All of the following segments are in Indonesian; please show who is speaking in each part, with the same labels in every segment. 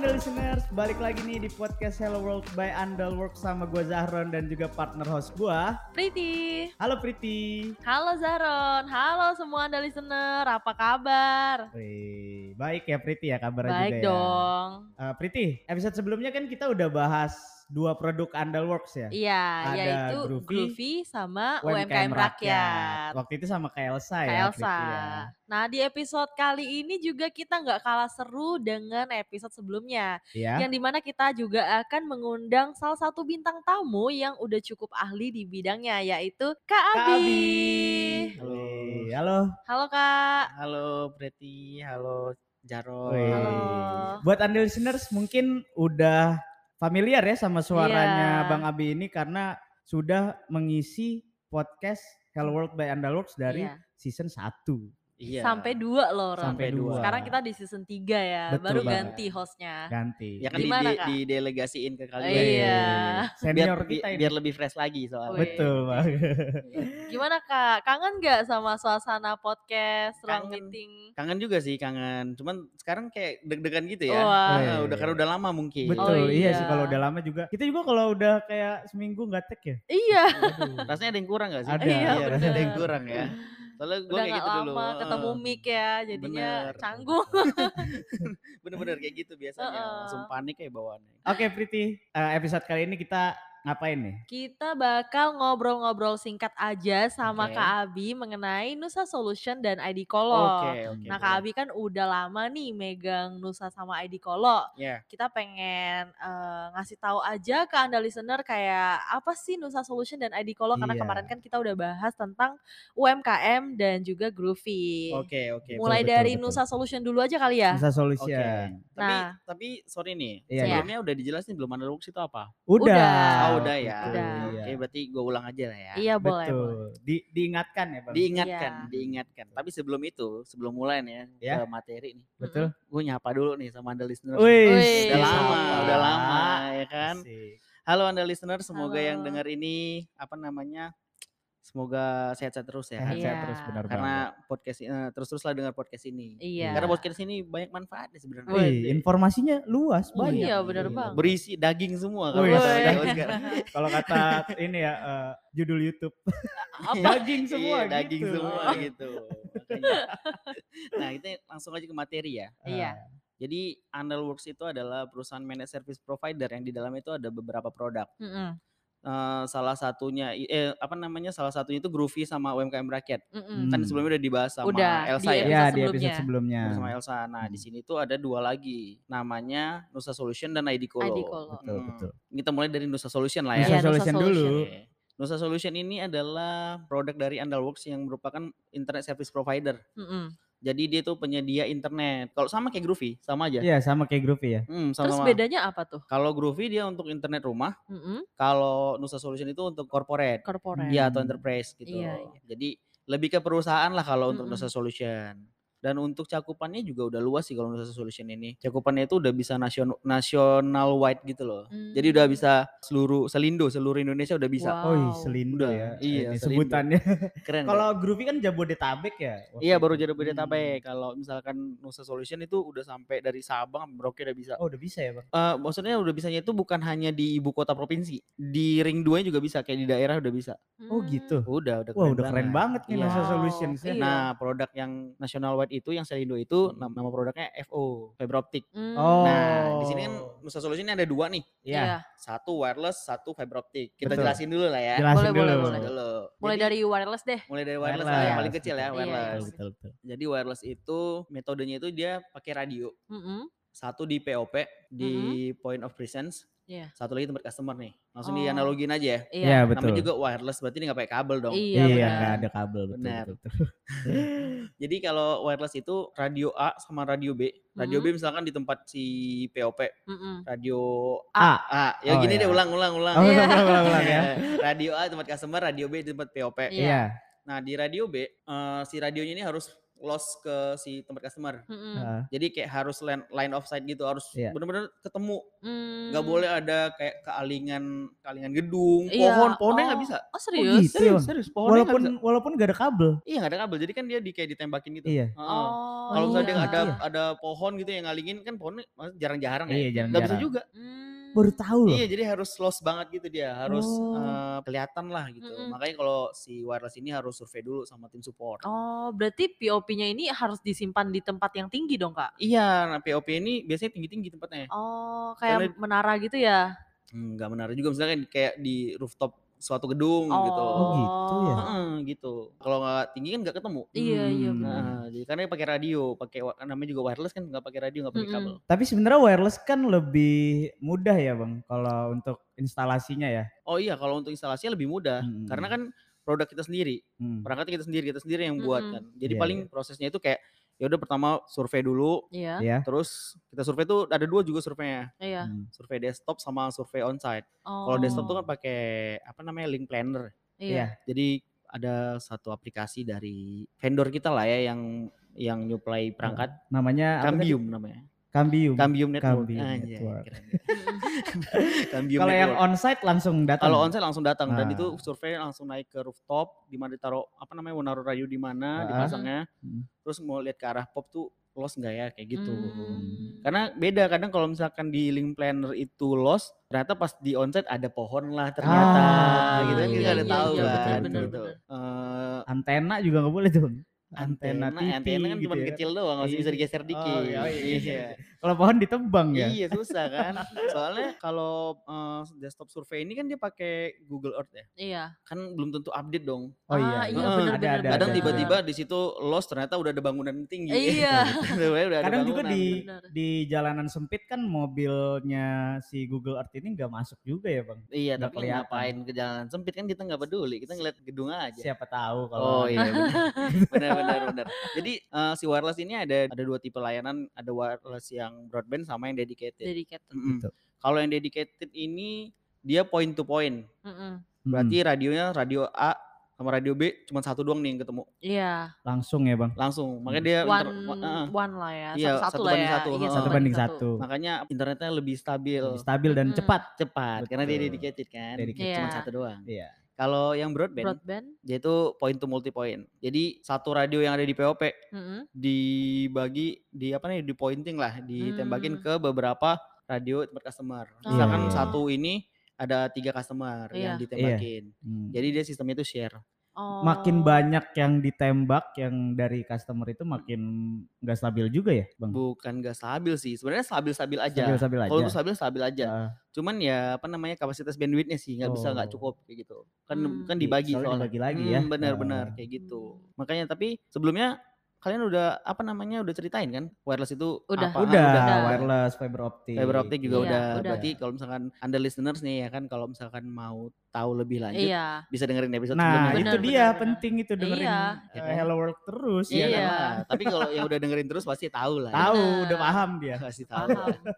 Speaker 1: Anda listeners, balik lagi nih di podcast Hello World by Andalwork sama gue Zahron dan juga partner host gue.
Speaker 2: Priti.
Speaker 1: Halo Priti.
Speaker 2: Halo Zaron, halo semua Anda listener, apa kabar?
Speaker 1: Wih, baik ya Priti ya kabarnya
Speaker 2: Baik
Speaker 1: juga ya.
Speaker 2: dong.
Speaker 1: Eh, Priti, episode sebelumnya kan kita udah bahas dua produk Andalworks ya.
Speaker 2: Iya,
Speaker 1: Ada
Speaker 2: yaitu
Speaker 1: Groovy,
Speaker 2: Groovy, sama UMKM, Rakyat.
Speaker 1: Waktu itu sama Kak Elsa ya.
Speaker 2: Kak
Speaker 1: Priti
Speaker 2: Elsa.
Speaker 1: ya.
Speaker 2: Nah di episode kali ini juga kita nggak kalah seru dengan episode sebelumnya.
Speaker 1: Iya.
Speaker 2: Yang dimana kita juga akan mengundang salah satu bintang tamu yang udah cukup ahli di bidangnya yaitu Kak Abi.
Speaker 1: Kak Abi.
Speaker 3: Halo.
Speaker 1: Wih, Halo.
Speaker 2: Halo Kak.
Speaker 3: Halo Preti, halo Jaro.
Speaker 1: Wih.
Speaker 2: Halo.
Speaker 1: Buat Anda listeners mungkin udah familiar ya sama suaranya
Speaker 2: Iya.
Speaker 1: Bang Abi ini karena sudah mengisi podcast Hello World by Andalworks dari
Speaker 2: Iya.
Speaker 1: season 1
Speaker 3: Iya.
Speaker 2: Sampai dua loh Ron.
Speaker 1: sampai
Speaker 3: Sampai
Speaker 1: 2.
Speaker 3: dua.
Speaker 2: Sekarang kita di season 3 ya,
Speaker 1: Betul
Speaker 2: baru
Speaker 1: banget.
Speaker 2: ganti hostnya.
Speaker 1: ganti.
Speaker 3: ya kan di,
Speaker 2: Gimana,
Speaker 3: di-
Speaker 2: Kak?
Speaker 3: didelegasiin ke kalian.
Speaker 2: Iya.
Speaker 1: Senior
Speaker 3: Biar,
Speaker 1: kita
Speaker 3: bi-
Speaker 1: ini.
Speaker 3: biar lebih fresh lagi
Speaker 2: Wih.
Speaker 3: soalnya.
Speaker 1: Betul banget.
Speaker 2: Gimana kak, kangen nggak sama suasana podcast, ruang
Speaker 3: Kangen.
Speaker 2: meeting?
Speaker 3: Kangen juga sih, kangen. Cuman sekarang kayak deg-degan gitu ya.
Speaker 2: Wah.
Speaker 3: Nah, udah karena udah lama mungkin.
Speaker 1: Iya. Betul,
Speaker 2: Oh,
Speaker 1: iya.
Speaker 2: iya.
Speaker 1: sih kalau udah lama juga. Kita juga kalau udah kayak seminggu nggak tag ya.
Speaker 2: Iya,
Speaker 1: Aduh.
Speaker 3: Rasanya ada yang kurang gak sih?
Speaker 1: Ada.
Speaker 2: Iya,
Speaker 3: rasanya ada
Speaker 2: bener.
Speaker 3: yang kurang ya. Soalnya
Speaker 2: udah
Speaker 3: gue kayak
Speaker 2: nggak
Speaker 3: gitu
Speaker 2: lama
Speaker 3: dulu.
Speaker 2: ketemu
Speaker 3: Heeh.
Speaker 2: mic ya, jadinya
Speaker 3: Bener.
Speaker 2: canggung.
Speaker 3: Bener-bener kayak gitu biasanya.
Speaker 2: Heeh.
Speaker 3: Langsung panik kayak bawaannya.
Speaker 1: Oke, Priti. Eh, episode kali ini kita ngapain nih?
Speaker 2: Kita bakal ngobrol-ngobrol singkat aja sama
Speaker 3: Oke.
Speaker 2: Kak Abi mengenai Nusa Solution dan ID
Speaker 3: Oke,
Speaker 2: Kolo.
Speaker 3: oke.
Speaker 2: Nah Kak Abi kan udah lama nih megang Nusa sama ID Kolo.
Speaker 3: Ya.
Speaker 2: Kita pengen eh, ngasih tahu aja ke anda listener kayak apa sih Nusa Solution dan ID Kolo karena
Speaker 1: Iya.
Speaker 2: kemarin kan kita udah bahas tentang UMKM dan juga Groovy.
Speaker 3: Oke,
Speaker 2: Iya.
Speaker 3: oke.
Speaker 2: Mulai
Speaker 1: betul,
Speaker 2: dari
Speaker 1: betul.
Speaker 2: Nusa Solution dulu aja kali ya.
Speaker 1: Nusa Solution.
Speaker 3: Oke. Tapi
Speaker 2: Nah.
Speaker 3: tapi sorry nih,
Speaker 1: Iya,
Speaker 3: sebelumnya udah dijelasin belum ada looks itu apa?
Speaker 1: Udah.
Speaker 2: Udah.
Speaker 3: Oh, udah ya.
Speaker 1: Ah, Betul,
Speaker 2: Udah.
Speaker 1: iya.
Speaker 3: Oke, berarti gue ulang aja lah ya.
Speaker 2: Iya boleh.
Speaker 1: Betul.
Speaker 2: boleh.
Speaker 1: Di- diingatkan ya, Bang.
Speaker 3: Diingatkan,
Speaker 2: Iya.
Speaker 3: diingatkan. Tapi sebelum itu, sebelum mulai nih
Speaker 1: Ya.
Speaker 3: ya, ke materi nih.
Speaker 1: Betul.
Speaker 3: Gue nyapa dulu nih sama anda listener.
Speaker 1: Wih, Iya,
Speaker 2: Wih.
Speaker 3: Udah lama,
Speaker 2: Sapa.
Speaker 3: udah lama ya kan.
Speaker 1: Asik.
Speaker 3: Halo anda listener, semoga yang
Speaker 2: Halo.
Speaker 3: dengar ini apa namanya? Semoga sehat-sehat terus ya.
Speaker 1: Sehat-sehat
Speaker 2: Iya.
Speaker 1: terus benar banget.
Speaker 3: Karena podcast ini terus-teruslah dengar podcast ini.
Speaker 2: Iya.
Speaker 3: Karena podcast ini banyak manfaatnya sebenarnya.
Speaker 1: Wih, informasinya luas
Speaker 3: Oh,
Speaker 1: banyak.
Speaker 2: iya, benar banget.
Speaker 3: Berisi daging semua kalau
Speaker 1: Wih.
Speaker 3: ya, kata
Speaker 2: Wih.
Speaker 3: zaman sekarang.
Speaker 1: Kalau kata ini ya eh, judul YouTube. daging semua
Speaker 3: Iya, daging
Speaker 1: gitu.
Speaker 3: semua
Speaker 1: Oh.
Speaker 3: gitu. Makanya. nah, kita langsung aja ke materi ya.
Speaker 1: Ah.
Speaker 2: Iya.
Speaker 3: Jadi, Underworks itu adalah perusahaan managed service provider yang di dalamnya itu ada beberapa produk.
Speaker 2: Mm-mm,
Speaker 3: Eh, salah satunya eh apa namanya? Salah satunya itu Groovy sama UMKM Rakyat.
Speaker 1: Hmm.
Speaker 2: mm-mm.
Speaker 3: Kan sebelumnya udah dibahas sama
Speaker 2: Udah,
Speaker 3: Elsa
Speaker 2: dia-
Speaker 3: ya.
Speaker 1: Ya,
Speaker 2: episode
Speaker 1: di episode sebelumnya.
Speaker 3: Sama Elsa. Nah,
Speaker 1: Hmm.
Speaker 3: di sini tuh ada dua lagi. Namanya Nusa Solution dan ID Kolo.
Speaker 2: ID Kolo.
Speaker 1: Betul,
Speaker 3: Hmm.
Speaker 1: betul.
Speaker 3: Kita mulai dari Nusa Solution lah
Speaker 1: Nusa
Speaker 3: ya.
Speaker 2: Iya, Nusa
Speaker 1: Solution dulu.
Speaker 2: Solution.
Speaker 3: Oke. Nusa Solution ini adalah produk dari Andalworks yang merupakan internet service provider.
Speaker 2: Mm-mm.
Speaker 3: Jadi dia tuh penyedia internet. Kalau sama kayak Groovy, sama aja.
Speaker 1: Iya, sama kayak Groovy ya.
Speaker 3: Hmm,
Speaker 2: Terus
Speaker 3: sama.
Speaker 2: bedanya apa tuh?
Speaker 3: Kalau Groovy dia untuk internet rumah,
Speaker 2: Mm-mm,
Speaker 3: kalau Nusa Solution itu untuk corporate.
Speaker 2: Corporate.
Speaker 3: Iya, atau enterprise gitu.
Speaker 2: Hmm. Iya, iya.
Speaker 3: Jadi lebih ke perusahaan lah kalau untuk
Speaker 2: Mm-mm.
Speaker 3: Nusa Solution. Dan untuk cakupannya juga udah luas sih kalau Nusa Solution ini. Cakupannya itu udah bisa nasional national wide gitu loh. Jadi udah
Speaker 2: Mm.
Speaker 3: bisa seluruh selindo, seluruh Indonesia udah bisa.
Speaker 2: Wow.
Speaker 1: Oh, ih, selindo
Speaker 3: Udah,
Speaker 1: ya. ini
Speaker 3: iya, selindo.
Speaker 1: sebutannya.
Speaker 3: Keren.
Speaker 1: Kalau Groovy kan Jabodetabek ya. waktu
Speaker 3: Iya baru
Speaker 1: itu.
Speaker 2: Hmm.
Speaker 3: jadi Jabodetabek. Kalau misalkan Nusa Solution itu udah sampai dari Sabang sampai Merauke udah bisa.
Speaker 1: Hmm. Oh, udah bisa ya, Bang.
Speaker 3: Eh, maksudnya udah bisanya itu bukan hanya di ibu kota provinsi, di ring 2 juga bisa, kayak di daerah udah bisa.
Speaker 2: Mm, Hmm.
Speaker 1: Oh, gitu.
Speaker 3: Udah, udah
Speaker 1: Wah, udah keren banget nih
Speaker 3: Iya.
Speaker 1: Nusa
Speaker 2: Wow,
Speaker 1: Solution ya.
Speaker 2: iya.
Speaker 3: Nah, produk yang national wide itu yang Selindo
Speaker 1: Hmm.
Speaker 3: itu nam- nama produknya FO, fiber optic.
Speaker 2: Mm,
Speaker 1: Oh.
Speaker 3: Nah, di sini kan Nusa Solution ini ada dua nih.
Speaker 1: Iya.
Speaker 2: iya.
Speaker 3: Satu wireless, satu fiber optic. Kita
Speaker 1: Betul.
Speaker 3: jelasin dulu lah ya.
Speaker 1: Jelasin
Speaker 2: Boleh,
Speaker 1: dulu.
Speaker 2: boleh,
Speaker 3: Jelasin
Speaker 2: boleh.
Speaker 3: dulu.
Speaker 2: Mulai
Speaker 3: Jadi-
Speaker 2: dari wireless deh.
Speaker 3: mulai dari wireless, lah yang paling kecil ya,
Speaker 1: betul.
Speaker 3: wireless.
Speaker 1: Iya, Betul, betul.
Speaker 3: Jadi wireless itu metodenya itu dia pakai radio.
Speaker 2: Mm-mm.
Speaker 3: satu di POP di point of presence
Speaker 2: Mm-hmm. Iya.
Speaker 3: satu lagi tempat customer nih langsung
Speaker 2: Oh.
Speaker 3: dianalogin aja ya
Speaker 1: Iya,
Speaker 2: Iya.
Speaker 1: betul.
Speaker 3: namanya juga wireless berarti ini nggak pakai kabel dong
Speaker 2: Iya,
Speaker 1: Iya,
Speaker 2: benar.
Speaker 1: nggak ada kabel betul.
Speaker 3: Benar.
Speaker 1: betul, betul.
Speaker 3: jadi kalau wireless itu radio A sama radio B radio
Speaker 2: Mm-hmm.
Speaker 3: B misalkan di tempat si POP
Speaker 2: Mm-mm.
Speaker 3: radio
Speaker 1: A.
Speaker 3: A
Speaker 1: Oh,
Speaker 3: ya gini
Speaker 1: iya.
Speaker 3: deh ulang ulang ulang
Speaker 1: Oh,
Speaker 2: Iya.
Speaker 1: ulang, ulang, ulang, ulang ya.
Speaker 3: radio A tempat customer radio B di tempat POP
Speaker 2: Iya.
Speaker 1: Iya.
Speaker 3: nah di radio B eh, si radionya ini harus loss ke si tempat customer.
Speaker 2: Mm-mm.
Speaker 1: Nah,
Speaker 3: Jadi kayak harus line, line of sight gitu, harus
Speaker 1: Iya.
Speaker 3: bener-bener ketemu.
Speaker 2: Mm.
Speaker 3: Nggak boleh ada kayak kealingan kealingan gedung,
Speaker 2: Iya,
Speaker 3: pohon, pohonnya nggak
Speaker 2: oh.
Speaker 3: bisa.
Speaker 2: Oh serius?
Speaker 1: gitu.
Speaker 3: Serius,
Speaker 1: Bang.
Speaker 3: serius, pohonnya nggak
Speaker 1: walaupun
Speaker 3: bisa.
Speaker 1: walaupun gak ada kabel.
Speaker 3: Iya nggak ada kabel, jadi kan dia di, kayak ditembakin gitu.
Speaker 1: Iya.
Speaker 3: Heeh.
Speaker 2: Oh.
Speaker 3: Kalau misalnya
Speaker 1: iya.
Speaker 3: dia ada ada pohon gitu yang ngalingin kan pohonnya maksudnya jarang-jarang ya.
Speaker 1: Iya, jarang-jarang.
Speaker 3: Nggak bisa juga.
Speaker 2: Mm.
Speaker 1: Baru tahu loh.
Speaker 3: Iya, jadi harus loss banget gitu dia, harus
Speaker 1: Oh.
Speaker 3: eh, kelihatan lah gitu.
Speaker 2: Mm-mm.
Speaker 3: Makanya kalau si wireless ini harus survei dulu sama tim support.
Speaker 2: Oh, berarti POP-nya ini harus disimpan di tempat yang tinggi dong, Kak?
Speaker 3: Iya, nah POP ini biasanya tinggi-tinggi tempatnya.
Speaker 2: Oh, kayak
Speaker 3: Karena-
Speaker 2: menara gitu ya?
Speaker 3: Hmm, Nggak menarik juga misalkan kayak di rooftop suatu gedung
Speaker 2: Oh,
Speaker 3: gitu.
Speaker 1: Oh, gitu ya.
Speaker 3: Heeh, gitu. Kalau nggak tinggi kan nggak ketemu.
Speaker 2: Iya, iya,
Speaker 1: Hmm.
Speaker 2: benar.
Speaker 3: Nah, jadi karena pakai radio, pakai wa- namanya juga wireless kan nggak pakai radio nggak pakai
Speaker 2: Mm-mm.
Speaker 3: kabel.
Speaker 1: Tapi sebenarnya wireless kan lebih mudah ya bang, kalau untuk instalasinya ya.
Speaker 3: Oh iya, kalau untuk instalasinya lebih mudah
Speaker 1: Hmm.
Speaker 3: karena kan produk kita sendiri,
Speaker 1: Hmm.
Speaker 3: perangkat kita sendiri, kita sendiri yang buat
Speaker 2: Mm-mm.
Speaker 3: kan. Jadi
Speaker 1: Iya,
Speaker 3: paling prosesnya itu kayak ya udah pertama survei dulu,
Speaker 2: Iya,
Speaker 1: Ya.
Speaker 3: terus kita survei tuh ada dua juga surveinya,
Speaker 2: iya.
Speaker 1: Hmm.
Speaker 3: survei desktop sama survei onsite.
Speaker 2: Oh.
Speaker 3: Kalau desktop tuh kan pakai apa namanya link planner.
Speaker 1: iya.
Speaker 2: Iya.
Speaker 3: Jadi ada satu aplikasi dari vendor kita lah ya yang yang nyuplai perangkat
Speaker 1: Namanya apa tadi?
Speaker 3: Cambium namanya.
Speaker 1: Cambium.
Speaker 3: Cambium Network.
Speaker 1: Cambium
Speaker 3: Anjay,
Speaker 1: Network.
Speaker 3: keren ya. Cambium
Speaker 1: Kalau yang
Speaker 3: Network.
Speaker 1: onsite langsung datang.
Speaker 3: ya. kalau onsite langsung datang dan
Speaker 1: Ah.
Speaker 3: itu survei langsung naik ke rooftop di mana ditaruh apa namanya mau naruh radio di mana
Speaker 1: Ah.
Speaker 3: dipasangnya.
Speaker 1: Hmm.
Speaker 3: Terus mau lihat ke arah pop tuh loss nggak ya kayak gitu.
Speaker 2: Hmm.
Speaker 3: Karena beda kadang kalau misalkan di link planner itu loss, ternyata pas di onsite ada pohon lah ternyata
Speaker 1: Ah,
Speaker 3: gitu kan
Speaker 1: iya,
Speaker 3: kita nggak ada
Speaker 1: iya,
Speaker 3: tahu
Speaker 1: iya,
Speaker 3: kan
Speaker 1: betul,
Speaker 3: gitu.
Speaker 2: betul.
Speaker 3: Eh,
Speaker 1: antena juga nggak boleh tuh. Bang.
Speaker 3: antena
Speaker 1: TV
Speaker 3: antena kan cuma
Speaker 1: ya.
Speaker 3: kecil doang masih
Speaker 1: Iya.
Speaker 3: bisa digeser
Speaker 1: Oh,
Speaker 3: dikit.
Speaker 1: iya, iya.
Speaker 3: Iya.
Speaker 1: Kalau pohon ditebang ya.
Speaker 3: Iya susah kan. Soalnya kalau eh, desktop survei ini kan dia pakai Google Earth ya.
Speaker 2: Iya.
Speaker 3: Kan belum tentu update dong.
Speaker 1: Oh iya.
Speaker 2: Ah, iya,
Speaker 1: Heeh,
Speaker 2: bener,
Speaker 1: ada,
Speaker 2: bener,
Speaker 1: ada,
Speaker 2: bener.
Speaker 3: Kadang
Speaker 1: ada.
Speaker 3: tiba-tiba di situ loss ternyata udah ada bangunan tinggi.
Speaker 2: Iya.
Speaker 3: Tiba-tiba udah ada
Speaker 1: Kadang juga
Speaker 3: bangunan.
Speaker 1: di
Speaker 2: benar.
Speaker 1: di jalanan sempit kan mobilnya si Google Earth ini nggak masuk juga ya bang.
Speaker 3: Iya,
Speaker 1: nggak
Speaker 3: tapi
Speaker 1: kelihatan.
Speaker 3: ngapain ke jalan sempit kan kita nggak peduli, kita ngeliat gedung aja.
Speaker 1: Siapa tahu kalau. gitu.
Speaker 3: Oh iya benar benar benar. Jadi eh, si wireless ini ada ada dua tipe layanan, ada wireless yang broadband sama yang dedicated.
Speaker 2: Jadi kayak
Speaker 3: Mm-mm.
Speaker 1: Gitu.
Speaker 3: Kalau yang dedicated ini dia point to point.
Speaker 2: Mm-mm.
Speaker 1: Hmm,
Speaker 3: Berarti ya. radionya radio A sama radio B cuma satu doang nih yang ketemu
Speaker 2: Iya,
Speaker 1: langsung ya bang.
Speaker 3: langsung. Makanya dia inter-
Speaker 2: one
Speaker 3: wa- eh,
Speaker 2: one lah ya,
Speaker 3: Iya,
Speaker 2: satu satu
Speaker 3: satu
Speaker 2: lah
Speaker 3: banding
Speaker 2: ya.
Speaker 3: satu,
Speaker 2: Iya,
Speaker 3: heeh.
Speaker 1: Satu banding satu.
Speaker 3: makanya internetnya lebih stabil,
Speaker 1: Lebih stabil dan
Speaker 2: Mm-mm.
Speaker 1: cepat.
Speaker 3: cepat karena dia
Speaker 1: Betul.
Speaker 3: dedicated kan.
Speaker 1: Dedicated.
Speaker 3: Cuma
Speaker 2: Iya.
Speaker 3: satu doang.
Speaker 1: Iya.
Speaker 3: Kalau yang broadband,
Speaker 2: Broadband.
Speaker 3: dia itu point to multi point. Jadi satu radio yang ada di POP
Speaker 2: Mm-mm.
Speaker 3: dibagi di apa nih di pointing lah, ditembakin
Speaker 2: Hmm.
Speaker 3: ke beberapa radio tempat customer.
Speaker 2: Oh.
Speaker 3: Misalkan
Speaker 1: Iya.
Speaker 3: satu ini ada tiga customer yang
Speaker 2: Iya.
Speaker 3: ditembakin.
Speaker 1: Hmm.
Speaker 3: Jadi dia sistemnya itu share.
Speaker 2: Oh.
Speaker 1: makin banyak yang ditembak yang dari customer itu makin nggak stabil juga ya bang
Speaker 3: Bukan gak stabil sih, sebenarnya stabil-stabil aja.
Speaker 1: stabil stabil aja Ah,
Speaker 3: Kalau untuk stabil stabil aja.
Speaker 1: Heeh.
Speaker 3: Cuman ya apa namanya kapasitas bandwidthnya sih nggak bisa nggak
Speaker 1: Oh.
Speaker 3: cukup kayak gitu. Kan
Speaker 2: Hmm.
Speaker 3: kan
Speaker 1: Di-
Speaker 3: dibagi
Speaker 1: soalnya
Speaker 3: soalnya.
Speaker 1: dibagi lagi ya.
Speaker 3: Hmm, Benar-benar kayak gitu. Makanya tapi sebelumnya kalian udah apa namanya udah ceritain kan wireless itu
Speaker 2: Udah.
Speaker 3: apaan?
Speaker 1: udah,
Speaker 2: Udah.
Speaker 1: wireless fiber optik Nah,
Speaker 3: Fiber optik juga
Speaker 2: Iya,
Speaker 3: udah.
Speaker 2: udah.
Speaker 3: Berarti kalau misalkan anda listeners nih ya kan kalau misalkan mau tahu lebih lanjut
Speaker 2: Iya.
Speaker 3: bisa dengerin episode
Speaker 1: nah
Speaker 3: sebelumnya.
Speaker 1: itu
Speaker 2: Benar,
Speaker 1: dia
Speaker 2: benar, benar.
Speaker 1: penting itu dengerin
Speaker 2: Iya.
Speaker 1: eh, Hello World terus
Speaker 3: Iya.
Speaker 1: ya
Speaker 2: Iya.
Speaker 1: kan?
Speaker 3: kan? Tapi kalau yang udah dengerin terus pasti tahu lah. ya.
Speaker 1: tahu
Speaker 2: Benar.
Speaker 1: udah paham dia
Speaker 3: Pasti tahu.
Speaker 2: Paham. Nah,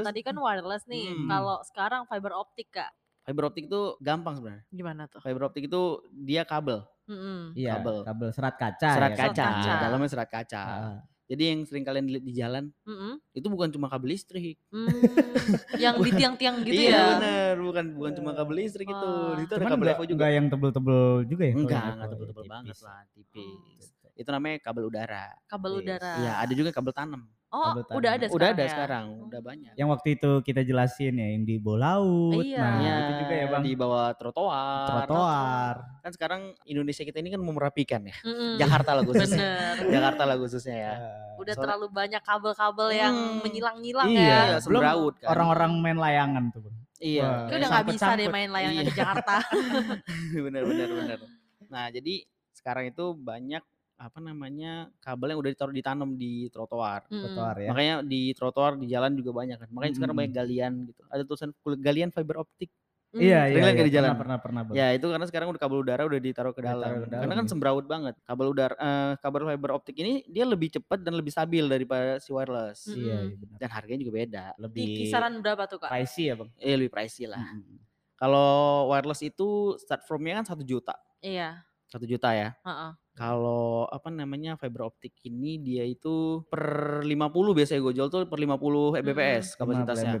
Speaker 3: Terus-
Speaker 2: tadi kan wireless nih.
Speaker 3: Hmm.
Speaker 2: Kalau sekarang fiber optik, Kak.
Speaker 3: Fiber optik itu gampang sebenarnya.
Speaker 2: Gimana tuh?
Speaker 3: Fiber optik itu dia kabel,
Speaker 2: Mm-mm.
Speaker 1: iya
Speaker 3: Kabel.
Speaker 1: kabel serat kaca
Speaker 3: serat
Speaker 1: ya kan?
Speaker 3: kaca.
Speaker 2: kaca.
Speaker 3: Dalamnya serat kaca.
Speaker 1: Ah,
Speaker 3: Jadi yang sering kalian lihat di jalan
Speaker 2: Mm-mm.
Speaker 3: itu bukan cuma kabel listrik.
Speaker 2: Hmm, yang di tiang-tiang gitu
Speaker 3: iya
Speaker 2: ya.
Speaker 3: benar, bukan bukan cuma kabel listrik itu.
Speaker 2: Wah.
Speaker 3: Di situ ada
Speaker 1: cuman
Speaker 3: kabel
Speaker 1: nggak
Speaker 3: EVO juga.
Speaker 1: nggak yang tebel-tebel juga ya kalau
Speaker 3: Enggak,
Speaker 1: yang
Speaker 3: enggak
Speaker 1: EVO,
Speaker 3: tebel-tebel
Speaker 1: tipis
Speaker 3: banget
Speaker 1: ya.
Speaker 3: lah, tipis. Itu namanya kabel udara.
Speaker 2: Kabel
Speaker 1: Yes.
Speaker 2: udara.
Speaker 3: Iya, ada juga kabel tanam.
Speaker 2: Oh,
Speaker 1: kabel
Speaker 2: udah
Speaker 1: tanam.
Speaker 2: ada sekarang
Speaker 3: udah ada
Speaker 2: ya?
Speaker 3: sekarang, udah banyak.
Speaker 1: yang waktu itu kita jelasin ya yang di bawah laut
Speaker 2: Iya.
Speaker 1: nah
Speaker 3: Iya,
Speaker 1: itu juga ya bang
Speaker 3: Di bawah trotoar.
Speaker 1: trotoar
Speaker 3: Kan sekarang Indonesia kita ini kan mau merapikan ya.
Speaker 2: Mm-mm.
Speaker 3: Jakarta lah khususnya.
Speaker 2: Hmm. Bener.
Speaker 3: Jakarta lah khususnya ya.
Speaker 1: Eh,
Speaker 2: Udah
Speaker 3: Soalnya-
Speaker 2: terlalu banyak kabel-kabel yang
Speaker 3: Hmm,
Speaker 2: menyilang-nyilang
Speaker 1: iya,
Speaker 2: ya.
Speaker 3: Iya,
Speaker 1: belum
Speaker 3: semrawut kan.
Speaker 1: orang-orang main layangan tuh Bang.
Speaker 2: Hmm.
Speaker 3: Iya.
Speaker 1: Wah. Kayak
Speaker 2: Itu udah nggak bisa deh
Speaker 1: sangkut-sangkut.
Speaker 2: main layangan
Speaker 3: Iya.
Speaker 2: di Jakarta.
Speaker 3: bener bener bener nah jadi sekarang itu banyak apa namanya kabel yang udah ditaruh ditanam di trotoar
Speaker 2: Mm-mm.
Speaker 1: trotoar ya Hmm.
Speaker 3: makanya di trotoar di jalan juga banyak kan makanya sekarang
Speaker 1: Mm-mm.
Speaker 3: banyak galian gitu ada tulisan kul- galian fiber optik
Speaker 2: Mm.
Speaker 1: iya
Speaker 3: Sering
Speaker 1: iya,
Speaker 3: lihat
Speaker 1: iya.
Speaker 3: di jalan.
Speaker 1: pernah pernah pernah Bang.
Speaker 3: ya itu karena sekarang udah kabel udara udah ditaruh ke
Speaker 1: Udah
Speaker 3: dalam,
Speaker 1: ditaruh ke dalam
Speaker 3: karena kan
Speaker 1: ya.
Speaker 3: semrawut banget kabel udara eh, kabel fiber optik ini dia lebih cepat dan lebih stabil daripada si wireless
Speaker 2: Mm.
Speaker 1: iya
Speaker 2: Mm-mm.
Speaker 1: iya benar
Speaker 3: dan harganya juga beda
Speaker 1: lebih
Speaker 2: Di kisaran berapa tuh kak?
Speaker 1: pricey ya bang
Speaker 3: eh lebih pricey lah
Speaker 1: Mm-mm.
Speaker 3: kalau wireless itu start from-nya kan satu juta
Speaker 2: Iya.
Speaker 3: satu juta ya
Speaker 2: heeh.
Speaker 3: Kalau apa namanya fiber optik ini dia itu per 50 biasanya gue jual tuh per 50 Mbps kapasitasnya.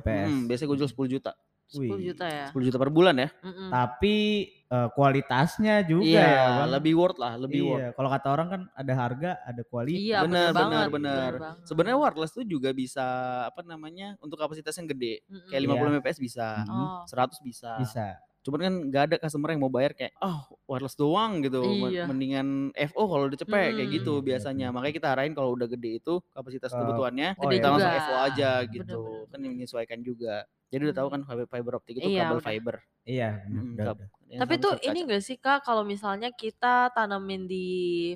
Speaker 1: 50 Mbps. Nah.
Speaker 3: Hmm, biasanya gue jual 10 juta.
Speaker 2: 10 juta ya.
Speaker 3: 10 juta per bulan ya.
Speaker 2: Mm-mm.
Speaker 1: Tapi eh, kualitasnya juga
Speaker 3: Iya,
Speaker 1: ya. Bang.
Speaker 3: lebih worth lah, lebih worth.
Speaker 1: iya. Kalau kata orang kan ada harga, ada kualitas.
Speaker 2: Iya,
Speaker 3: benar,
Speaker 2: benar
Speaker 3: benar,
Speaker 2: banget. Iya,
Speaker 3: benar.
Speaker 2: banget.
Speaker 3: Sebenarnya wireless tuh juga bisa apa namanya untuk kapasitas yang gede.
Speaker 2: Mm-mm.
Speaker 3: Kayak
Speaker 1: Iya.
Speaker 3: 50 Mbps bisa,
Speaker 1: Mm,
Speaker 2: Oh.
Speaker 3: 100 bisa.
Speaker 1: Bisa.
Speaker 3: Cuman kan nggak ada customer yang mau bayar kayak ah wireless doang gitu. Men-
Speaker 2: Iya. Hmm.
Speaker 3: Mendingan FO kalau udah cepet kayak
Speaker 2: Mm-mm.
Speaker 3: gitu
Speaker 1: Iya, iya,
Speaker 3: biasanya.
Speaker 1: iya.
Speaker 3: Makanya kita arahin kalau udah gede itu kapasitas
Speaker 1: Eh,
Speaker 3: kebutuhannya
Speaker 1: oh
Speaker 3: kita
Speaker 1: iya.
Speaker 3: langsung
Speaker 2: juga.
Speaker 3: FO aja
Speaker 1: Bener,
Speaker 3: gitu.
Speaker 2: Ya bener,
Speaker 3: Kan menyesuaikan juga. Jadi udah tahu
Speaker 2: Hmm.
Speaker 3: kan fiber- fiber optik itu
Speaker 2: Iya,
Speaker 3: kabel
Speaker 2: udah.
Speaker 3: fiber.
Speaker 1: Iya. bener,
Speaker 3: Mm,
Speaker 1: udah,
Speaker 3: kab-
Speaker 1: udah.
Speaker 3: yang
Speaker 2: Tapi
Speaker 3: sama
Speaker 2: tuh
Speaker 3: seperti
Speaker 2: ini
Speaker 3: kaca.
Speaker 2: gak sih Kak kalau misalnya kita tanamin di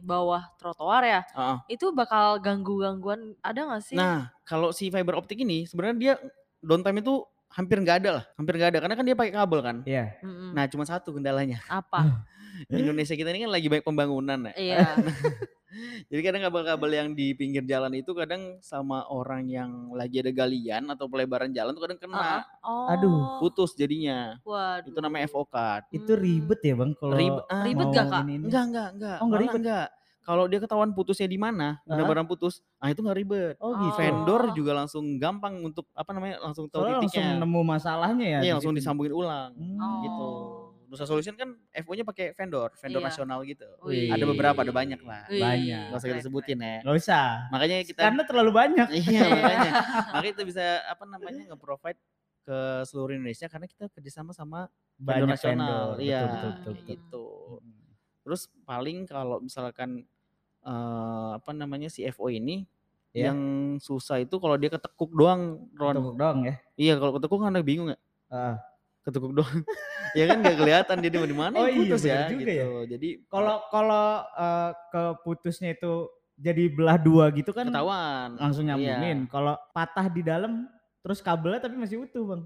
Speaker 2: bawah trotoar ya,
Speaker 3: Ah, ah.
Speaker 2: itu bakal ganggu-gangguan ada gak sih?
Speaker 3: Nah, kalau si fiber optik ini sebenarnya dia downtime itu hampir nggak ada lah, hampir nggak ada karena kan dia pakai kabel kan.
Speaker 1: Iya.
Speaker 2: Mm-mm.
Speaker 3: Nah, cuma satu kendalanya.
Speaker 2: apa?
Speaker 3: Indonesia kita ini kan lagi banyak pembangunan ya.
Speaker 2: Iya.
Speaker 3: Jadi kadang
Speaker 1: Iya.
Speaker 3: kabel-kabel yang di pinggir jalan itu kadang sama orang yang lagi ada galian atau pelebaran jalan tuh kadang
Speaker 2: Ah,
Speaker 3: kena
Speaker 2: Oh,
Speaker 1: Aduh.
Speaker 3: putus jadinya.
Speaker 2: Waduh.
Speaker 3: nah. Itu namanya FOK.
Speaker 1: Itu ribet ya bang Hmm. kalau
Speaker 3: Ribet- ah,
Speaker 2: Hmm. ribet
Speaker 1: mau
Speaker 2: gak, Kak?
Speaker 1: ini-ini.
Speaker 3: Enggak, enggak, enggak.
Speaker 1: Oh, nggak
Speaker 3: Malah
Speaker 1: ribet.
Speaker 3: Enggak. Kalau dia ketahuan putusnya di mana,
Speaker 1: Ah.
Speaker 3: benar-benar putus, ah itu nggak ribet.
Speaker 1: Oh
Speaker 2: Oh.
Speaker 1: gitu.
Speaker 3: Vendor juga langsung gampang untuk apa namanya langsung tahu
Speaker 1: Soalnya langsung
Speaker 3: titiknya.
Speaker 1: nemu masalahnya ya.
Speaker 3: Iya
Speaker 1: di
Speaker 3: langsung
Speaker 1: situ.
Speaker 3: disambungin ulang
Speaker 1: Hmm.
Speaker 3: gitu.
Speaker 2: Oh.
Speaker 3: Nusa Solution kan FO-nya pakai vendor, vendor
Speaker 2: Iya.
Speaker 3: nasional gitu.
Speaker 2: Wih.
Speaker 3: Ada beberapa, ada banyak lah.
Speaker 2: Wih,
Speaker 1: Banyak.
Speaker 3: Gak usah kita
Speaker 2: keren,
Speaker 3: sebutin ya.
Speaker 1: Gak usah.
Speaker 3: Makanya kita
Speaker 1: Karena terlalu banyak.
Speaker 3: Iya,
Speaker 2: Iya.
Speaker 3: makanya. Makanya kita bisa apa namanya nge-provide ke seluruh Indonesia karena kita kerjasama sama
Speaker 1: Banyak
Speaker 3: vendor nasional.
Speaker 1: vendor.
Speaker 3: Iya,
Speaker 1: Betul, betul, betul,
Speaker 2: kayak
Speaker 1: betul.
Speaker 3: gitu.
Speaker 1: Hmm.
Speaker 3: Terus paling kalau misalkan eh, apa namanya si FO ini
Speaker 1: Iya.
Speaker 3: yang susah itu kalau dia ketekuk doang, Ron.
Speaker 1: Tunggu dong ya. Eh,
Speaker 3: Iya, kalau ketekuk kan ada bingung ya.
Speaker 1: Heeh.
Speaker 3: ketukuk doang. ya kan gak kelihatan dia di mana
Speaker 1: Oh
Speaker 3: yang
Speaker 1: iya,
Speaker 3: putus
Speaker 1: bener
Speaker 3: ya
Speaker 1: juga ya.
Speaker 3: gitu. Jadi
Speaker 1: Kalau kalau eh, keputusnya itu jadi belah dua gitu kan
Speaker 3: ketahuan
Speaker 1: langsung
Speaker 3: Iya.
Speaker 1: nyambungin. Kalau patah di dalam terus kabelnya tapi masih utuh, Bang.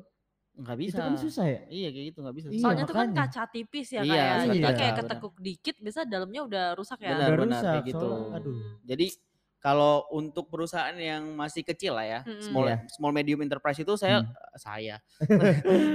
Speaker 3: nggak
Speaker 1: Itu
Speaker 3: bisa.
Speaker 1: kan susah ya?
Speaker 3: Iya kayak gitu nggak bisa.
Speaker 1: Iya,
Speaker 2: Soalnya tuh kan
Speaker 1: makanya.
Speaker 2: kaca tipis ya
Speaker 3: Iya,
Speaker 2: kayak. Jadi
Speaker 1: iya.
Speaker 2: kayak
Speaker 3: benar.
Speaker 2: ketekuk dikit bisa dalamnya udah rusak ya.
Speaker 3: Iya, Benar,
Speaker 1: Udah
Speaker 3: benar,
Speaker 1: rusak
Speaker 3: kayak gitu.
Speaker 1: soalnya. Aduh.
Speaker 3: Jadi kalau untuk perusahaan yang masih kecil lah ya,
Speaker 2: Mm-mm.
Speaker 3: small
Speaker 1: Iya.
Speaker 3: small medium enterprise itu saya eh,
Speaker 1: Hmm.
Speaker 3: saya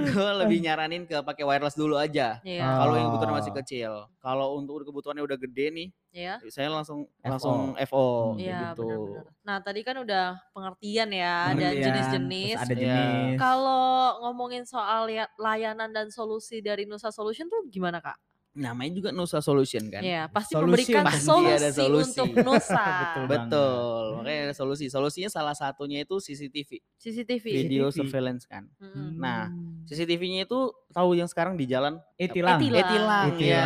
Speaker 3: gue lebih nyaranin ke pakai wireless dulu aja.
Speaker 2: Iya.
Speaker 1: Ah.
Speaker 3: Kalau yang kebutuhan masih
Speaker 1: Oh.
Speaker 3: kecil, kalau untuk kebutuhannya udah gede nih,
Speaker 2: Iya.
Speaker 3: saya langsung
Speaker 1: FO.
Speaker 3: langsung FO
Speaker 1: Hmm.
Speaker 3: kayak
Speaker 2: Iya,
Speaker 3: gitu.
Speaker 2: benar-benar. Nah, tadi kan udah pengertian ya dan
Speaker 1: Pengertian,
Speaker 2: jenis-jenis.
Speaker 1: terus ada
Speaker 3: Iya.
Speaker 1: jenis.
Speaker 2: Kalau ngomongin soal lia- layanan dan solusi dari Nusa Solution tuh gimana kak?
Speaker 3: Namanya juga Nusa Solution kan.
Speaker 2: Iya, pasti
Speaker 1: Solusi,
Speaker 2: memberikan
Speaker 1: pasti
Speaker 2: solusi,
Speaker 3: ada solusi.
Speaker 2: untuk Nusa.
Speaker 1: Betul banget.
Speaker 3: Betul, makanya ada solusi. Solusinya salah satunya itu CCTV,
Speaker 2: CCTV.
Speaker 3: video
Speaker 1: CCTV.
Speaker 3: surveillance kan.
Speaker 2: Mm-mm.
Speaker 3: Nah, CCTV-nya itu tahu yang sekarang di jalan
Speaker 1: Hmm. etilang.
Speaker 2: Etilang.
Speaker 3: Etilang, ya,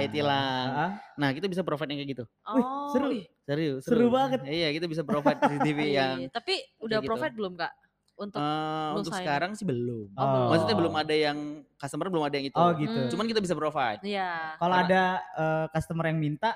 Speaker 1: Etilang.
Speaker 3: Etilang.
Speaker 1: Heeh.
Speaker 3: Nah, kita bisa provide yang kayak gitu.
Speaker 1: Wih,
Speaker 2: Oh,
Speaker 1: seru.
Speaker 2: ih,
Speaker 3: Serius,
Speaker 1: Seru banget.
Speaker 3: Iya, kita bisa provide CCTV
Speaker 2: iya.
Speaker 3: yang
Speaker 2: Tapi udah
Speaker 3: gitu.
Speaker 2: provide belum kak? Untuk
Speaker 3: eh,
Speaker 2: Nusa
Speaker 3: untuk
Speaker 2: ini.
Speaker 3: sekarang sih belum.
Speaker 2: Oh, belum.
Speaker 3: Maksudnya belum ada yang customer belum ada yang itu.
Speaker 1: Oh gitu.
Speaker 2: Hmm.
Speaker 3: Cuman kita bisa provide.
Speaker 2: Iya.
Speaker 1: Kalau
Speaker 3: Karena-
Speaker 1: ada eh, customer yang minta,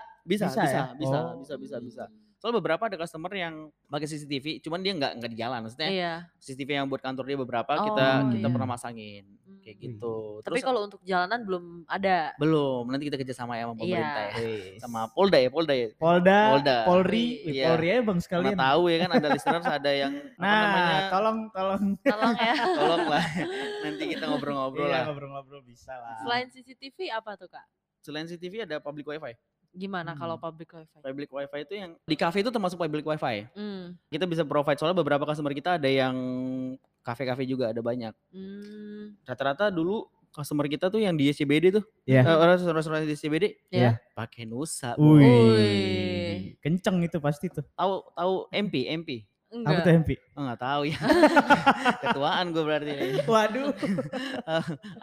Speaker 1: Bisa
Speaker 3: Bisa, bisa, bisa,
Speaker 1: ya?
Speaker 3: bisa,
Speaker 1: Oh.
Speaker 3: bisa, bisa,
Speaker 2: Hmm.
Speaker 3: Soalnya beberapa ada customer yang pakai CCTV, cuman dia nggak nggak di jalan. Maksudnya
Speaker 2: Iya.
Speaker 3: CCTV yang buat kantor dia beberapa
Speaker 2: Oh,
Speaker 3: kita kita
Speaker 1: iya.
Speaker 3: pernah masangin kayak
Speaker 2: Hmm.
Speaker 3: gitu.
Speaker 2: Tapi
Speaker 3: Terus-
Speaker 2: kalau untuk jalanan belum ada.
Speaker 3: belum nanti kita kerjasama ya sama
Speaker 2: Iya.
Speaker 3: pemerintah ya
Speaker 1: wih,
Speaker 3: sama Polda ya Polda ya
Speaker 1: Polda,
Speaker 3: Polda.
Speaker 1: Polri,
Speaker 2: Wih,
Speaker 1: wih,
Speaker 3: iya.
Speaker 1: Polri aja bang
Speaker 3: Mana
Speaker 1: sekalian.
Speaker 3: tahu ya kan ada listeners ada yang apa namanya
Speaker 1: Nah, tolong, tolong.
Speaker 2: Tolong ya.
Speaker 3: tolong lah nanti kita ngobrol-ngobrol
Speaker 1: Iya,
Speaker 3: lah
Speaker 1: ngobrol-ngobrol bisa lah.
Speaker 2: Selain CCTV apa tuh kak?
Speaker 3: selain CCTV ada public wifi
Speaker 2: Gimana
Speaker 1: Hmm.
Speaker 2: kalau public wifi?
Speaker 3: public wifi itu yang di cafe itu termasuk public wifi
Speaker 2: Hmm.
Speaker 3: kita bisa provide soalnya beberapa customer kita ada yang kafe-kafe juga ada banyak
Speaker 2: Hmm.
Speaker 3: rata-rata dulu customer kita tuh yang di SCBD tuh
Speaker 1: Iya.
Speaker 3: eh, orang restoran di SCBD
Speaker 1: Iya.
Speaker 3: pakai Nusa
Speaker 1: Wih,
Speaker 2: Wih.
Speaker 1: kenceng itu pasti tuh.
Speaker 3: tahu tahu MP MP
Speaker 1: Apa
Speaker 2: Enggak.
Speaker 1: tuh MP?
Speaker 3: Oh, Eh, nggak tahu ya ketuaan gue berarti nih.
Speaker 1: Waduh.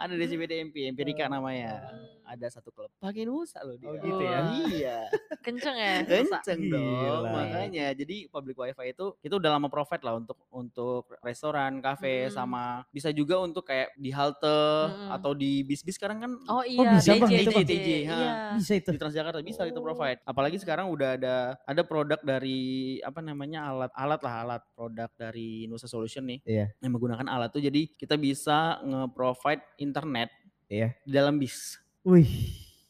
Speaker 3: ada di CBD MP, Empirika namanya.
Speaker 2: Hmm.
Speaker 3: Ada satu klub. Pakai Nusa loh dia.
Speaker 1: Oh, gitu ya?
Speaker 2: Wah.
Speaker 3: Iya.
Speaker 2: Kenceng ya. Nusa?
Speaker 3: Kenceng Eh, dong.
Speaker 1: Gila.
Speaker 3: Makanya jadi public wifi itu itu udah lama profit lah untuk untuk restoran, kafe
Speaker 2: Mm-mm.
Speaker 3: sama bisa juga untuk kayak di halte
Speaker 2: Mm-mm.
Speaker 3: atau di bis-bis sekarang kan
Speaker 2: Oh iya,
Speaker 1: bisa, Bang,
Speaker 2: DJ,
Speaker 1: itu, Bang.
Speaker 2: DJ,
Speaker 3: ha.
Speaker 2: Iya.
Speaker 1: Bisa itu.
Speaker 3: di Transjakarta bisa kita
Speaker 2: Oh.
Speaker 3: provide. Apalagi sekarang udah ada ada produk dari apa namanya alat-alat lah alat produk dari Nusa Solution nih
Speaker 1: Iya.
Speaker 3: yang menggunakan alat tuh jadi kita bisa nge-provide internet
Speaker 1: Iya.
Speaker 3: di dalam bis.
Speaker 1: Wih.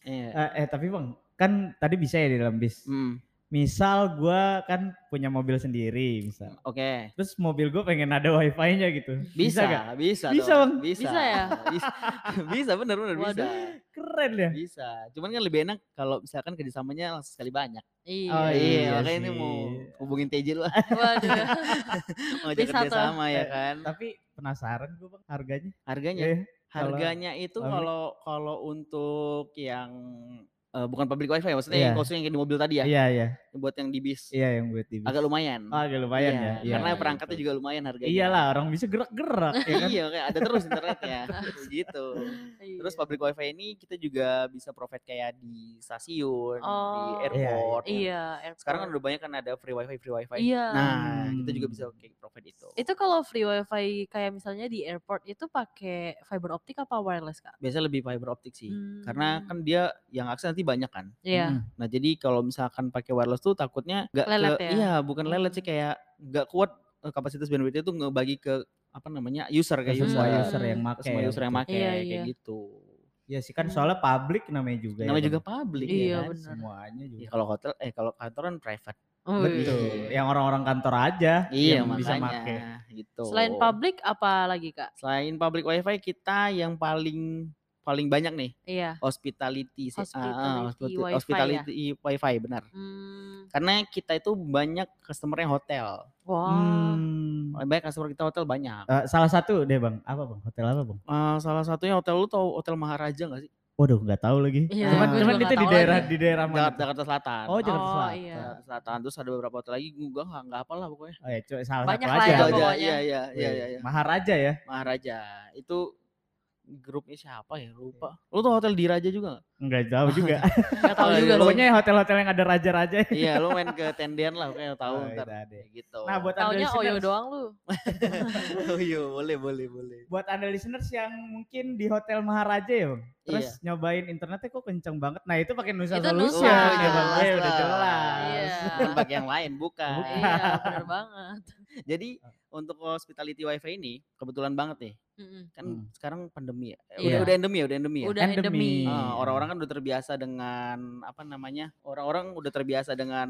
Speaker 3: Iya.
Speaker 1: Eh, eh, tapi bang, kan tadi bisa ya di dalam bis.
Speaker 3: Mm,
Speaker 1: Misal gua kan punya mobil sendiri, misal.
Speaker 3: Oke,
Speaker 1: Terus mobil gue pengen ada wifi-nya gitu.
Speaker 3: bisa,
Speaker 1: gak?
Speaker 3: bisa,
Speaker 1: Bisa,
Speaker 3: dong.
Speaker 1: Bang.
Speaker 3: bisa,
Speaker 2: Bisa ya?
Speaker 3: bisa, bisa bener bener bisa.
Speaker 2: Waduh.
Speaker 1: Keren. keren ya.
Speaker 3: Bisa. Cuman kan lebih enak kalau misalkan kerjasamanya langsung sekali banyak.
Speaker 2: Iya.
Speaker 1: Oh, iya
Speaker 3: makanya ini mau
Speaker 1: sih.
Speaker 3: hubungin TJ lu
Speaker 2: Waduh. Iya.
Speaker 3: mau ajak
Speaker 2: Bisa tuh.
Speaker 3: kerjasama ya
Speaker 1: Eh,
Speaker 3: kan.
Speaker 1: Tapi penasaran gue bang harganya.
Speaker 3: Harganya,
Speaker 1: Eh, kalau-
Speaker 3: harganya itu
Speaker 1: kalau-
Speaker 3: kalau kalau untuk yang eh, bukan public wifi ya, maksudnya yang
Speaker 1: Iya.
Speaker 3: kosong yang di mobil tadi ya,
Speaker 1: Iya iya
Speaker 3: buat yang di bis
Speaker 1: iya yang buat TV.
Speaker 3: agak lumayan.
Speaker 1: Oh, agak lumayan
Speaker 3: Iya,
Speaker 1: ya. Iya,
Speaker 3: Karena
Speaker 1: iya,
Speaker 3: perangkatnya
Speaker 1: betul.
Speaker 3: juga lumayan harganya.
Speaker 1: Iyalah orang bisa gerak-gerak ya kan.
Speaker 3: iya, kayak ada terus internetnya. gitu.
Speaker 2: Iya.
Speaker 3: Terus public wifi ini kita juga bisa provide kayak di stasiun, di
Speaker 2: Oh.
Speaker 3: airport.
Speaker 2: iya.
Speaker 3: Sekarang
Speaker 2: airport.
Speaker 3: kan udah banyak kan ada free wifi, free wifi.
Speaker 2: Iya.
Speaker 3: Nah, kita juga
Speaker 1: Hmm.
Speaker 3: bisa kayak provide itu.
Speaker 2: Itu kalau free wifi kayak misalnya di airport itu pakai fiber optik apa wireless kak?
Speaker 3: Biasanya lebih fiber optik
Speaker 2: Hmm.
Speaker 3: sih. Karena kan dia yang akses nanti banyak kan.
Speaker 1: Mm.
Speaker 2: Iya.
Speaker 3: Nah, jadi kalau misalkan pakai wireless tuh takutnya nggak
Speaker 2: Lelet
Speaker 3: ke
Speaker 2: ya?
Speaker 3: iya, bukan lelet sih kayak nggak kuat eh, kapasitas bandwidth itu ngebagi ke apa namanya? user
Speaker 1: Ke
Speaker 3: kayak user.
Speaker 1: semua
Speaker 2: Hmm.
Speaker 1: user yang
Speaker 3: Iya. Ke
Speaker 1: make.
Speaker 3: semua
Speaker 1: ya,
Speaker 3: user yang
Speaker 1: betul.
Speaker 3: make
Speaker 2: Iya,
Speaker 3: kayak
Speaker 2: iya.
Speaker 3: gitu.
Speaker 1: Iya sih kan
Speaker 2: Hmm.
Speaker 1: soalnya public namanya juga ya,
Speaker 3: Namanya
Speaker 1: Bang.
Speaker 3: juga public ya
Speaker 2: Iya,
Speaker 3: kan?
Speaker 2: bener.
Speaker 1: Semuanya juga.
Speaker 3: Ya, kalau hotel eh kalau kantoran private.
Speaker 2: Wih.
Speaker 1: Hmm,
Speaker 2: Iya.
Speaker 1: Betul. Yang orang-orang kantor aja
Speaker 3: Iya,
Speaker 1: yang
Speaker 3: makanya
Speaker 1: bisa make.
Speaker 3: gitu.
Speaker 2: Selain public apa lagi kak?
Speaker 3: selain public wifi kita yang paling paling banyak nih
Speaker 2: Iya.
Speaker 3: hospitality sih. Ah, ah,
Speaker 2: Hospitality
Speaker 3: hospita-
Speaker 2: wifi ya?
Speaker 3: hospitality wifi benar.
Speaker 2: Hmm,
Speaker 3: Karena kita itu banyak customer yang hotel.
Speaker 2: wah.
Speaker 1: Hmm.
Speaker 3: Banyak customer kita hotel banyak.
Speaker 1: Eh, salah satu deh bang, apa bang? Hotel apa bang?
Speaker 3: Eh, salah satunya hotel lu tau hotel Maharaja gak sih?
Speaker 1: Waduh nggak tahu lagi.
Speaker 2: Iya,
Speaker 1: cuman cuman
Speaker 3: gua
Speaker 2: juga
Speaker 1: itu di
Speaker 2: nggak tahu
Speaker 1: daerah
Speaker 2: lagi.
Speaker 1: di daerah mana?
Speaker 3: Jakarta, Jakarta Selatan.
Speaker 1: Oh Jakarta
Speaker 2: Oh,
Speaker 1: Selatan.
Speaker 2: iya.
Speaker 3: Jakarta Selatan. Terus ada beberapa hotel lagi gue gak nggak apa lah pokoknya.
Speaker 1: Oh, ya, cu- salah
Speaker 2: Banyak
Speaker 1: satu aja.
Speaker 2: lah ya,
Speaker 3: Itu aja.
Speaker 2: pokoknya.
Speaker 3: Iya iya iya iya. iya.
Speaker 1: Maharaja ya?
Speaker 3: Maharaja itu grupnya siapa ya lupa. Lu tuh hotel Diraja juga gak?
Speaker 1: Oh, Nggak tahu juga.
Speaker 3: Nggak
Speaker 2: tahu
Speaker 3: ya,
Speaker 2: juga
Speaker 3: lu-
Speaker 1: Pokoknya hotel-hotel yang ada raja-raja.
Speaker 3: Iya lu main ke tendian lah pokoknya tahu
Speaker 1: Oh,
Speaker 3: ntar.
Speaker 1: itu ada.
Speaker 3: Kayak gitu.
Speaker 1: Nah buat anda
Speaker 2: Taunya Oyo
Speaker 1: listeners,
Speaker 2: doang lu.
Speaker 3: Oh iya, boleh boleh boleh.
Speaker 1: buat anda listeners yang mungkin di hotel Maharaja ya bang, terus nyobain internetnya kok kenceng banget. Nah itu pakai Nusa
Speaker 2: Iya. Itu
Speaker 1: Solution
Speaker 2: Nusa,
Speaker 1: ya bang,
Speaker 2: jelas
Speaker 1: Eh, udah
Speaker 3: lah.
Speaker 1: jelas.
Speaker 2: Iya.
Speaker 3: Bukan pakai Iya. yang lain, bukan.
Speaker 1: Bukan.
Speaker 2: iya, benar banget.
Speaker 3: Jadi untuk hospitality wifi ini kebetulan banget nih.
Speaker 2: Mm-mm.
Speaker 3: Kan
Speaker 1: Hmm.
Speaker 3: sekarang pandemi ya. Eh,
Speaker 2: Iya.
Speaker 3: Udah udah endemi ya, udah endemi ya.
Speaker 2: Udah
Speaker 1: Endemi.
Speaker 2: endemi. Iya.
Speaker 3: Ah, orang-orang kan udah terbiasa dengan apa namanya? Orang-orang udah terbiasa dengan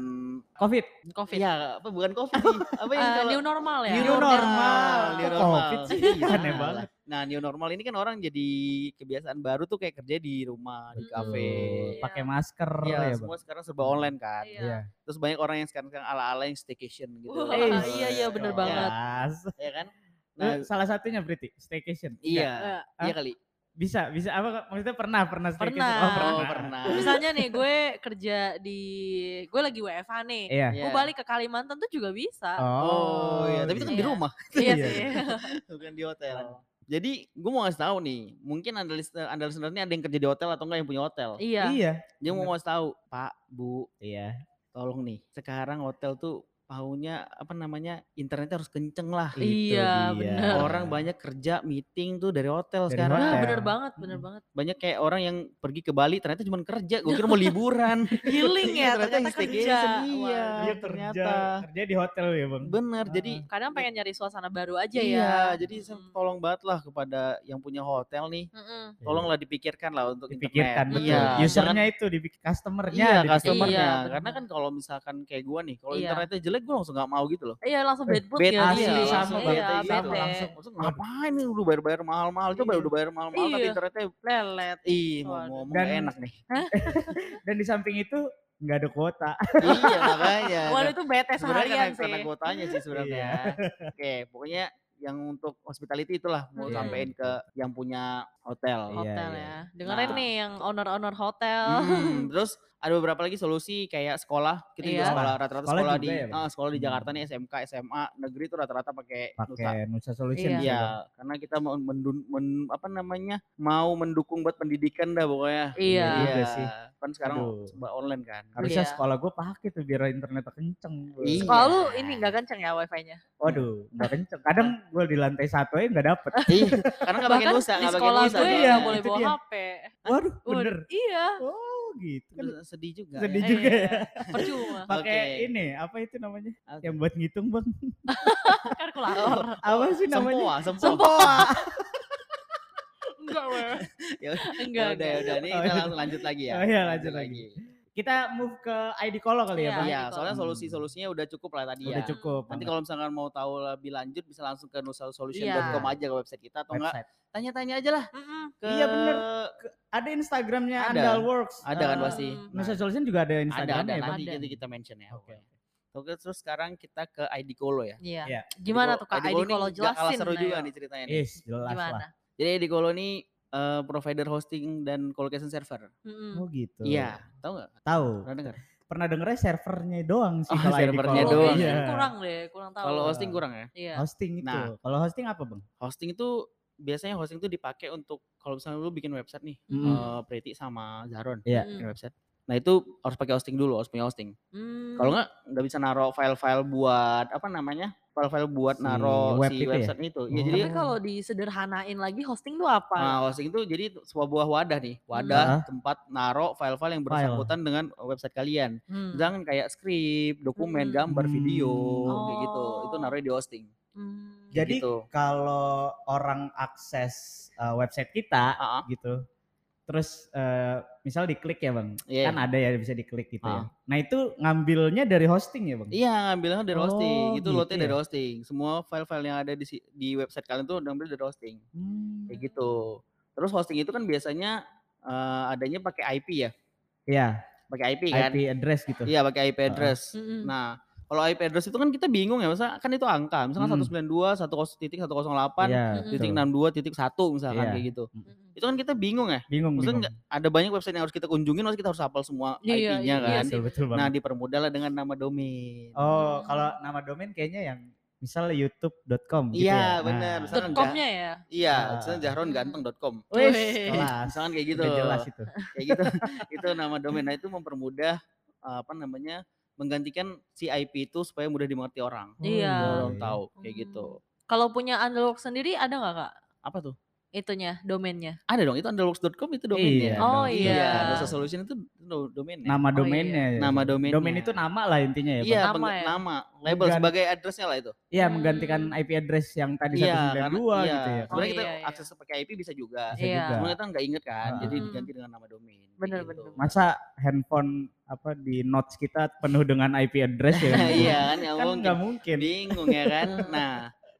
Speaker 1: Covid,
Speaker 2: Covid.
Speaker 3: ya apa bukan covid sih. Apa yang
Speaker 2: Eh,
Speaker 3: kalau-
Speaker 2: new normal ya.
Speaker 1: New normal. Kok
Speaker 3: New Iya, normal.
Speaker 1: covid sih?
Speaker 3: Iya,
Speaker 1: Aneh
Speaker 3: salah.
Speaker 1: banget.
Speaker 3: Nah, new normal ini kan orang jadi kebiasaan baru tuh kayak kerja di rumah, di
Speaker 2: Mm-mm.
Speaker 3: kafe.
Speaker 1: Tuh,
Speaker 2: Iya.
Speaker 1: pakai masker ya
Speaker 3: Iya,
Speaker 1: bang.
Speaker 3: semua sekarang serba online kan.
Speaker 2: Iya.
Speaker 1: Iya.
Speaker 3: Terus banyak orang yang sekarang sekarang ala-ala yang staycation gitu.
Speaker 2: Wah,
Speaker 3: Eh,
Speaker 2: iya, iya,
Speaker 1: Jelas.
Speaker 2: bener banget.
Speaker 3: Ya kan?
Speaker 1: Nah,
Speaker 3: Nah,
Speaker 1: salah satunya berarti staycation.
Speaker 3: iya.
Speaker 2: Eh,
Speaker 3: Iya kali.
Speaker 1: Bisa, bisa apa Kak? maksudnya pernah pernah staycation.
Speaker 2: Pernah.
Speaker 1: Oh, pernah.
Speaker 3: Oh, pernah.
Speaker 2: Misalnya nih gue kerja di gue lagi WFH nih.
Speaker 1: Iya.
Speaker 3: Iya.
Speaker 2: Gue balik ke Kalimantan tuh juga bisa.
Speaker 3: Oh, iya, tapi itu kan di
Speaker 2: Iya.
Speaker 3: rumah,
Speaker 2: Iya
Speaker 1: iya.
Speaker 2: sih.
Speaker 3: bukan di hotel. Jadi, gue mau ngasih tahu nih, mungkin anda listener, anda listener ini ada yang kerja di hotel atau enggak yang punya hotel.
Speaker 2: Iya.
Speaker 1: Iya.
Speaker 3: Dia mau ngasih tahu, Pak, Bu,
Speaker 1: Iya.
Speaker 3: tolong nih. Sekarang hotel tuh maunya apa namanya? Internetnya harus kenceng lah.
Speaker 1: Itu dia.
Speaker 2: Iya, bener.
Speaker 3: Orang banyak kerja meeting tuh dari hotel
Speaker 1: Dari
Speaker 3: sekarang.
Speaker 2: Wah,
Speaker 1: hotel.
Speaker 2: bener banget, bener
Speaker 3: Hmm.
Speaker 1: Mm.
Speaker 2: banget.
Speaker 3: Banyak kayak orang yang pergi ke Bali ternyata cuma kerja. Gue kira mau liburan.
Speaker 2: Healing
Speaker 3: Iya,
Speaker 2: ya ternyata, kerja.
Speaker 3: staycation, Iya,
Speaker 2: Waduh.
Speaker 1: Dia kerja
Speaker 3: ternyata.
Speaker 1: kerja di hotel ya, Bang.
Speaker 3: Bener, jadi
Speaker 2: Kadang pengen nyari suasana baru aja
Speaker 3: iya,
Speaker 2: ya.
Speaker 3: jadi saya
Speaker 1: Hmm.
Speaker 2: Mm.
Speaker 3: tolong banget lah kepada yang punya hotel nih,
Speaker 2: Mm-mm.
Speaker 3: tolonglah dipikirkan lah
Speaker 1: Iya.
Speaker 3: untuk
Speaker 1: dipikirkan
Speaker 3: internet.
Speaker 1: betul.
Speaker 3: Iya,
Speaker 1: Usernya itu di customernya,
Speaker 3: Iya,
Speaker 1: dipikirkan.
Speaker 3: customernya.
Speaker 2: Iya,
Speaker 3: Karena
Speaker 2: bener.
Speaker 3: kan kalau misalkan kayak gua nih, kalau
Speaker 2: Iya.
Speaker 3: internetnya jelek gua langsung nggak mau gitu loh.
Speaker 2: Iya langsung bad mood
Speaker 3: Bad
Speaker 2: ya.
Speaker 1: Asli
Speaker 3: Iya,
Speaker 2: dia.
Speaker 1: sama banget
Speaker 3: iya,
Speaker 2: Iya,
Speaker 1: sama
Speaker 2: bete.
Speaker 1: langsung.
Speaker 3: Maksud ngapain nih udah bayar-bayar mahal-mahal coba
Speaker 1: Iya.
Speaker 3: udah bayar mahal-mahal tapi
Speaker 2: Iya.
Speaker 3: internetnya
Speaker 2: Lelet.
Speaker 3: ih mau
Speaker 2: Waduh.
Speaker 3: ngomong
Speaker 1: Dan-
Speaker 3: nggak enak nih.
Speaker 1: Dan di samping itu nggak ada kuota.
Speaker 3: iya makanya.
Speaker 2: Waduh itu bete
Speaker 3: sebenarnya karena,
Speaker 2: seharian sih.
Speaker 3: karena kuotanya sih sebenarnya.
Speaker 1: Iya.
Speaker 3: Oke, pokoknya yang untuk hospitality itulah mau
Speaker 2: Iya.
Speaker 3: sampein ke yang punya
Speaker 1: Iya,
Speaker 3: hotel.
Speaker 2: hotel
Speaker 1: iya.
Speaker 2: ya. Dengerin
Speaker 3: Nah.
Speaker 2: nih yang owner-owner hotel.
Speaker 3: Hmm, terus ada beberapa lagi solusi kayak sekolah, kita juga
Speaker 2: Iya.
Speaker 3: sekolah rata-rata
Speaker 1: Sekolah
Speaker 3: sekolah,
Speaker 1: juga
Speaker 3: di
Speaker 1: ya, Bang?
Speaker 3: ah, sekolah di Jakarta
Speaker 1: Hmm.
Speaker 3: nih SMK, SMA, negeri itu rata-rata pakai nusa.
Speaker 1: Pakai Nusa Solution.
Speaker 2: Iya.
Speaker 1: sih,
Speaker 3: Iya,
Speaker 1: Bang.
Speaker 3: karena kita mau mendun- men- apa namanya? mau mendukung buat pendidikan dah pokoknya.
Speaker 2: Iya.
Speaker 1: Iya. juga sih.
Speaker 3: Kan sekarang
Speaker 1: Aduh.
Speaker 3: serba online kan.
Speaker 1: Harusnya
Speaker 2: Iya.
Speaker 1: sekolah gue pakai tuh biar internetnya kenceng. Bang.
Speaker 3: Iya.
Speaker 2: Kalau lu ini nggak kenceng ya wifi-nya?
Speaker 1: Waduh, nggak kenceng. Kadang gue di lantai satu aja nggak dapet.
Speaker 3: Ih, karena nggak pakai
Speaker 2: Bahkan
Speaker 3: nusa,
Speaker 2: di
Speaker 3: nggak pakai
Speaker 2: sekolah
Speaker 3: nusa.
Speaker 2: gue
Speaker 3: soalnya.
Speaker 2: nggak
Speaker 1: iya,
Speaker 2: boleh
Speaker 1: itu
Speaker 2: bawa
Speaker 1: dia.
Speaker 2: HP.
Speaker 1: Waduh,
Speaker 2: Waduh,
Speaker 1: bener.
Speaker 2: Iya.
Speaker 1: Oh gitu. Kan
Speaker 3: Aduh, Sedih juga.
Speaker 1: sedih
Speaker 3: ya.
Speaker 1: juga
Speaker 2: Iya,
Speaker 1: ya.
Speaker 2: Percuma.
Speaker 1: Pakai
Speaker 3: Oke.
Speaker 1: ini apa itu namanya?
Speaker 3: Apa
Speaker 1: Yang buat ngitung bang.
Speaker 2: Kalkulator.
Speaker 1: Apa sih namanya?
Speaker 3: Sempoa, sempoa.
Speaker 2: Enggak, weh.
Speaker 3: Ya
Speaker 2: Enggak.
Speaker 3: Ya udah, ya udah. Ini
Speaker 1: Oh,
Speaker 3: kita
Speaker 1: iya.
Speaker 3: langsung lanjut lagi ya.
Speaker 1: Oh, iya, lanjut lagi. Kita move ke ID Kolo kali ya, Bang.
Speaker 2: Iya,
Speaker 3: Iya, soalnya
Speaker 1: Hmm.
Speaker 3: solusi-solusinya udah cukup lah tadi
Speaker 1: Udah
Speaker 3: ya.
Speaker 1: cukup. banget.
Speaker 3: Nanti kalau misalkan mau tahu lebih lanjut bisa langsung ke
Speaker 2: Iya.
Speaker 3: nusasolution.com aja ke website kita atau enggak
Speaker 1: Website.
Speaker 3: tanya-tanya aja lah
Speaker 2: Mm-mm.
Speaker 3: ke
Speaker 1: Iya, bener. Ada Instagramnya
Speaker 3: Ada.
Speaker 1: Andal Works.
Speaker 3: Ada kan
Speaker 1: Eh,
Speaker 3: pasti.
Speaker 2: Hmm.
Speaker 1: Nusa Solution juga ada
Speaker 3: ada
Speaker 1: Instagramnya
Speaker 3: ada
Speaker 1: ya, Bang?
Speaker 3: nanti
Speaker 2: Ada.
Speaker 3: nanti kita mention ya.
Speaker 1: Oke.
Speaker 3: pokoknya. Oke, terus sekarang kita ke ID Kolo ya.
Speaker 2: Iya.
Speaker 1: Iya.
Speaker 2: Gimana tuh Kak ID
Speaker 3: Kolo
Speaker 2: kalau
Speaker 3: ini nggak
Speaker 2: jelasin?
Speaker 3: kalah
Speaker 2: ya.
Speaker 3: seru juga
Speaker 2: ayo.
Speaker 3: nih ceritanya nih.
Speaker 1: Is, jelas lah.
Speaker 2: Gimana?
Speaker 3: Jadi ID Kolo ini eh, provider hosting dan colocation server.
Speaker 1: Oh
Speaker 2: Mm-mm.
Speaker 1: gitu.
Speaker 3: Iya, tahu nggak?
Speaker 1: Tahu.
Speaker 3: Pernah dengar?
Speaker 1: Pernah dengernya servernya doang sih
Speaker 3: Oh,
Speaker 1: kalau ID
Speaker 3: servernya
Speaker 1: Kolo.
Speaker 3: doang.
Speaker 2: Location
Speaker 1: Iya.
Speaker 2: kurang deh, kurang tahu.
Speaker 3: Kalau hosting kurang ya.
Speaker 2: Iya. Hmm.
Speaker 1: Hosting itu.
Speaker 3: Nah.
Speaker 1: Kalau hosting apa, Bang?
Speaker 3: Hosting itu biasanya hosting itu dipakai untuk kalau misalnya lu bikin website nih,
Speaker 1: Mm.
Speaker 2: Mm-mm.
Speaker 3: eh, Preti sama Zaron
Speaker 1: Iya. Hmm.
Speaker 2: Mm-mm.
Speaker 3: bikin website. Nah itu harus pakai hosting dulu, harus punya hosting.
Speaker 2: Mm.
Speaker 3: Kalau nggak nggak bisa naro file-file buat apa namanya? File-file buat
Speaker 1: Si
Speaker 3: naro
Speaker 1: web
Speaker 3: si
Speaker 1: itu ya?
Speaker 3: website itu. Ya,
Speaker 1: Oh.
Speaker 3: jadi
Speaker 2: Tapi kalau disederhanain lagi hosting tuh
Speaker 1: Hmm.
Speaker 2: apa?
Speaker 3: Nah, hosting itu jadi sebuah wadah nih, wadah tempat naro file-file yang
Speaker 1: File.
Speaker 3: bersangkutan dengan website kalian.
Speaker 2: Hmm.
Speaker 3: Jangan kayak skrip, dokumen,
Speaker 2: Mm-mm.
Speaker 3: gambar, video,
Speaker 1: Hmm.
Speaker 3: kayak gitu. Itu
Speaker 2: Oh.
Speaker 3: naruh di hosting.
Speaker 2: Hmm.
Speaker 1: Jadi
Speaker 3: gitu.
Speaker 1: kalau orang akses uh, website kita
Speaker 3: Ah, ah.
Speaker 1: gitu, terus uh, misal diklik ya bang,
Speaker 3: Iya.
Speaker 1: kan ada ya bisa diklik gitu ya.
Speaker 3: Ah.
Speaker 1: Nah itu ngambilnya dari hosting ya bang?
Speaker 3: Iya, ngambilnya dari hosting.
Speaker 1: Oh,
Speaker 3: itu
Speaker 1: gitu
Speaker 3: lotnya dari
Speaker 1: ya.
Speaker 3: hosting. Semua file-file yang ada di si- di website kalian tuh diambil dari hosting.
Speaker 1: Hmm.
Speaker 3: Kayak gitu. Terus hosting itu kan biasanya eh, adanya pakai IP ya,
Speaker 1: Iya.
Speaker 3: pakai IP kan.
Speaker 1: IP address gitu.
Speaker 3: Iya, pakai IP address.
Speaker 2: Mm-mm.
Speaker 3: Nah, kalau IP address itu kan kita bingung ya, masa kan itu angka, misalkan
Speaker 1: Hmm.
Speaker 3: 192 10 titik 108
Speaker 1: Iya,
Speaker 2: Mm-mm.
Speaker 3: titik
Speaker 1: betul.
Speaker 3: 62 titik 1 misalkan
Speaker 1: Iya.
Speaker 3: kayak gitu.
Speaker 2: Mm-mm.
Speaker 3: Itu kan kita bingung ya.
Speaker 1: Bingung, bingung.
Speaker 3: Maksudnya nggak- ada banyak website yang harus kita kunjungin, harus kita harus hafal semua
Speaker 2: Iya, iya,
Speaker 3: IP-nya
Speaker 2: iya
Speaker 3: kan.
Speaker 1: betul, betul banget.
Speaker 3: nah, dipermudah lah dengan nama domain.
Speaker 2: Hmm.
Speaker 1: oh, kalau nama domain kayaknya yang misal youtube.com gitu ya.
Speaker 3: Iya, benar.
Speaker 1: Nah.
Speaker 3: Misalkan
Speaker 2: Dot
Speaker 3: nggak-
Speaker 2: comnya ya.
Speaker 3: Iya,
Speaker 1: Ah.
Speaker 3: misalnya Jahron ganteng.com.
Speaker 1: Wih,
Speaker 2: Wih.
Speaker 1: jelas.
Speaker 3: Misalkan kayak gitu.
Speaker 1: Udah jelas ya. itu.
Speaker 3: Kayak gitu. itu nama domain. Nah, itu mempermudah eh, apa namanya? menggantikan si IP itu supaya mudah dimengerti orang.
Speaker 2: Iya.
Speaker 1: Oh,
Speaker 3: Biar
Speaker 2: Ah.
Speaker 3: Orang tahu kayak
Speaker 2: Hmm.
Speaker 3: gitu.
Speaker 2: Kalau punya Underwork sendiri ada nggak kak?
Speaker 3: Apa tuh?
Speaker 2: Itunya, domainnya.
Speaker 3: Ada dong, itu underworks.com itu domainnya.
Speaker 1: Iya, Oh,
Speaker 2: iya.
Speaker 3: Dosa Solution itu do- domainnya.
Speaker 1: Nama
Speaker 2: iya.
Speaker 1: domainnya. ya.
Speaker 3: Nama domainnya.
Speaker 1: Domain itu nama lah intinya ya. Bang?
Speaker 3: Iya,
Speaker 2: Nama
Speaker 3: nama,
Speaker 2: ya?
Speaker 3: nama label
Speaker 1: Menggan-
Speaker 3: sebagai addressnya lah itu.
Speaker 1: Iya,
Speaker 2: Hmm.
Speaker 1: menggantikan IP address yang tadi
Speaker 3: Iya,
Speaker 1: 192
Speaker 3: iya.
Speaker 1: gitu ya.
Speaker 3: Sebenarnya
Speaker 2: Oh,
Speaker 3: kita
Speaker 2: iya, iya.
Speaker 3: akses pakai IP bisa juga.
Speaker 1: Bisa
Speaker 2: Iya.
Speaker 1: juga.
Speaker 3: Cuma kita nggak inget kan,
Speaker 1: Ah.
Speaker 3: jadi
Speaker 2: Mm.
Speaker 3: diganti dengan nama domain. kayak
Speaker 2: Bener,
Speaker 3: gitu.
Speaker 2: bener.
Speaker 1: Masa handphone apa di notes kita penuh dengan IP address ya?
Speaker 3: Iya kan, ya
Speaker 1: kan
Speaker 3: mungkin.
Speaker 1: nggak mungkin.
Speaker 3: Bingung ya kan. Nah,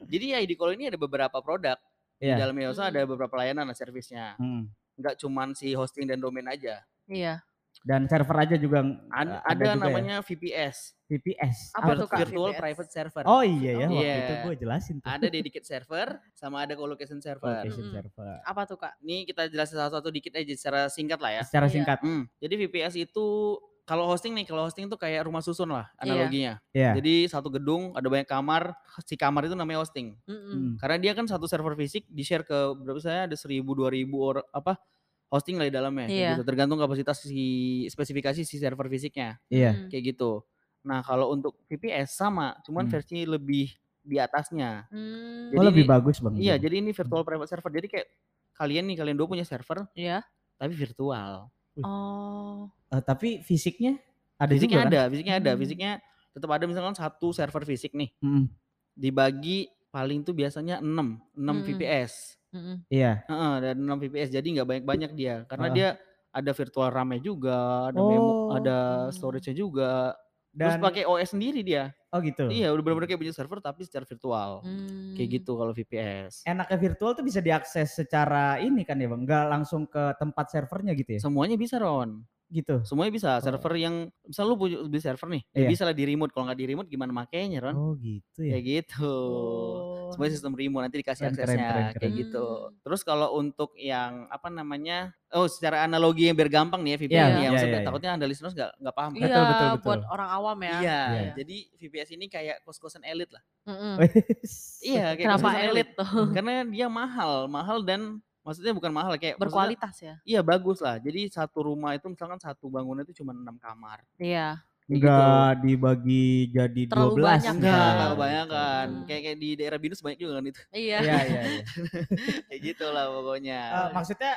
Speaker 3: jadi ya ID Call ini ada beberapa produk. Di
Speaker 1: Iya.
Speaker 3: dalam Yosa ada beberapa layanan lah servisnya.
Speaker 1: Hmm.
Speaker 3: Nggak cuman si hosting dan domain aja.
Speaker 2: Iya.
Speaker 1: Dan server aja juga ng- ada,
Speaker 3: An- ada
Speaker 1: juga ya?
Speaker 3: namanya VPS,
Speaker 1: VPS.
Speaker 2: Apa tuh, Kak?
Speaker 3: Virtual
Speaker 2: VPS?
Speaker 3: Private Server.
Speaker 1: Oh iya ya, waktu
Speaker 3: Iya.
Speaker 1: itu gue jelasin tuh.
Speaker 3: Ada dedicated server sama ada colocation server.
Speaker 1: Location
Speaker 2: Mm-mm.
Speaker 1: server.
Speaker 2: Apa tuh kak?
Speaker 3: Ini kita jelasin satu-satu dikit aja secara singkat lah ya.
Speaker 1: Secara
Speaker 2: Iya.
Speaker 1: singkat.
Speaker 3: Hmm, jadi VPS itu kalau hosting nih, kalau hosting tuh kayak rumah susun lah
Speaker 2: Iya.
Speaker 3: analoginya.
Speaker 1: Iya.
Speaker 3: Jadi satu gedung ada banyak kamar, si kamar itu namanya hosting.
Speaker 2: Mm-mm.
Speaker 1: Hmm.
Speaker 3: Karena dia kan satu server fisik di-share ke berapa saya ada 1000 2000 or apa hosting lah di dalamnya kayak
Speaker 2: Iya.
Speaker 3: gitu. Tergantung kapasitas si spesifikasi si server fisiknya
Speaker 1: Iya.
Speaker 2: Mm.
Speaker 3: kayak gitu. Nah, kalau untuk VPS sama, cuman
Speaker 1: Hmm.
Speaker 3: versi lebih di atasnya.
Speaker 2: Mm,
Speaker 1: Oh
Speaker 3: Jadi
Speaker 1: lebih
Speaker 3: ini-
Speaker 1: bagus bang. gitu.
Speaker 3: Iya, jadi ini virtual private server. Jadi kayak kalian nih kalian dua punya server
Speaker 2: Iya.
Speaker 3: tapi virtual.
Speaker 2: Oh.
Speaker 1: Eh, tapi fisiknya ada
Speaker 3: fisiknya
Speaker 1: juga kan?
Speaker 3: ada, fisiknya ada,
Speaker 2: Hmm.
Speaker 3: fisiknya tetap ada misalkan satu server fisik nih
Speaker 1: Mm-mm.
Speaker 3: dibagi paling tuh biasanya 6, 6
Speaker 2: Mm-mm.
Speaker 3: VPS.
Speaker 2: Mm-mm.
Speaker 1: Iya.
Speaker 3: Heeh, ada 6 VPS jadi nggak banyak-banyak dia karena
Speaker 1: Ah.
Speaker 3: dia ada virtual RAM-nya juga, ada memo,
Speaker 1: Oh.
Speaker 3: ada
Speaker 2: Hmm.
Speaker 3: storage-nya juga.
Speaker 1: Dan
Speaker 3: Terus pakai OS sendiri dia.
Speaker 1: oh gitu.
Speaker 3: Iya, udah benar-benar kayak punya server tapi secara virtual.
Speaker 2: Mm.
Speaker 1: Hmm.
Speaker 3: Kayak gitu kalau VPS.
Speaker 1: Enaknya virtual tuh bisa diakses secara ini kan ya bang? Nggak langsung ke tempat servernya gitu ya?
Speaker 3: Semuanya bisa Ron.
Speaker 1: Gitu.
Speaker 3: Semuanya bisa. Server yang misal lu punya beli server nih, ya
Speaker 1: Iya.
Speaker 3: bisa lah di remote. Kalau nggak di remote gimana makainya Ron?
Speaker 1: Oh gitu ya.
Speaker 3: Kayak gitu.
Speaker 1: Oh.
Speaker 3: Semuanya sistem remote nanti dikasih
Speaker 1: Keren, keren,
Speaker 3: aksesnya
Speaker 1: keren,
Speaker 3: kayak
Speaker 2: keren.
Speaker 3: gitu.
Speaker 2: Hmm.
Speaker 3: Terus kalau untuk yang apa namanya? Oh, secara analogi yang biar gampang nih ya VPS
Speaker 2: Iya,
Speaker 3: nih ya.
Speaker 1: iya,
Speaker 3: Maksudnya
Speaker 1: iya,
Speaker 3: takutnya Anda listeners nggak nggak paham.
Speaker 1: Betul,
Speaker 2: Iya,
Speaker 1: betul, betul.
Speaker 2: buat orang awam ya.
Speaker 3: Iya,
Speaker 1: Iya.
Speaker 3: jadi VPS ini kayak kos-kosan elit lah.
Speaker 2: Mm-mm.
Speaker 3: Iya, kayak
Speaker 2: Kenapa
Speaker 3: kos-kosan
Speaker 2: elit tuh?
Speaker 3: Karena dia mahal, mahal dan maksudnya bukan mahal kayak maksudnya-
Speaker 2: Berkualitas ya.
Speaker 3: Iya, bagus lah. Jadi satu rumah itu misalkan satu bangunan itu cuma enam kamar.
Speaker 2: Iya.
Speaker 3: Kayak
Speaker 1: Enggak dibagi jadi
Speaker 2: Terlalu
Speaker 1: 12
Speaker 2: banyak
Speaker 1: misalnya.
Speaker 3: Enggak,
Speaker 2: Iya.
Speaker 3: enggak kebanyakan.
Speaker 2: Hmm.
Speaker 3: Kayak kayak di daerah Binus banyak juga kan itu.
Speaker 2: Iya.
Speaker 1: Iya, iya, iya.
Speaker 3: kayak gitu lah
Speaker 1: Ah,
Speaker 3: pokoknya.
Speaker 1: Eh, maksudnya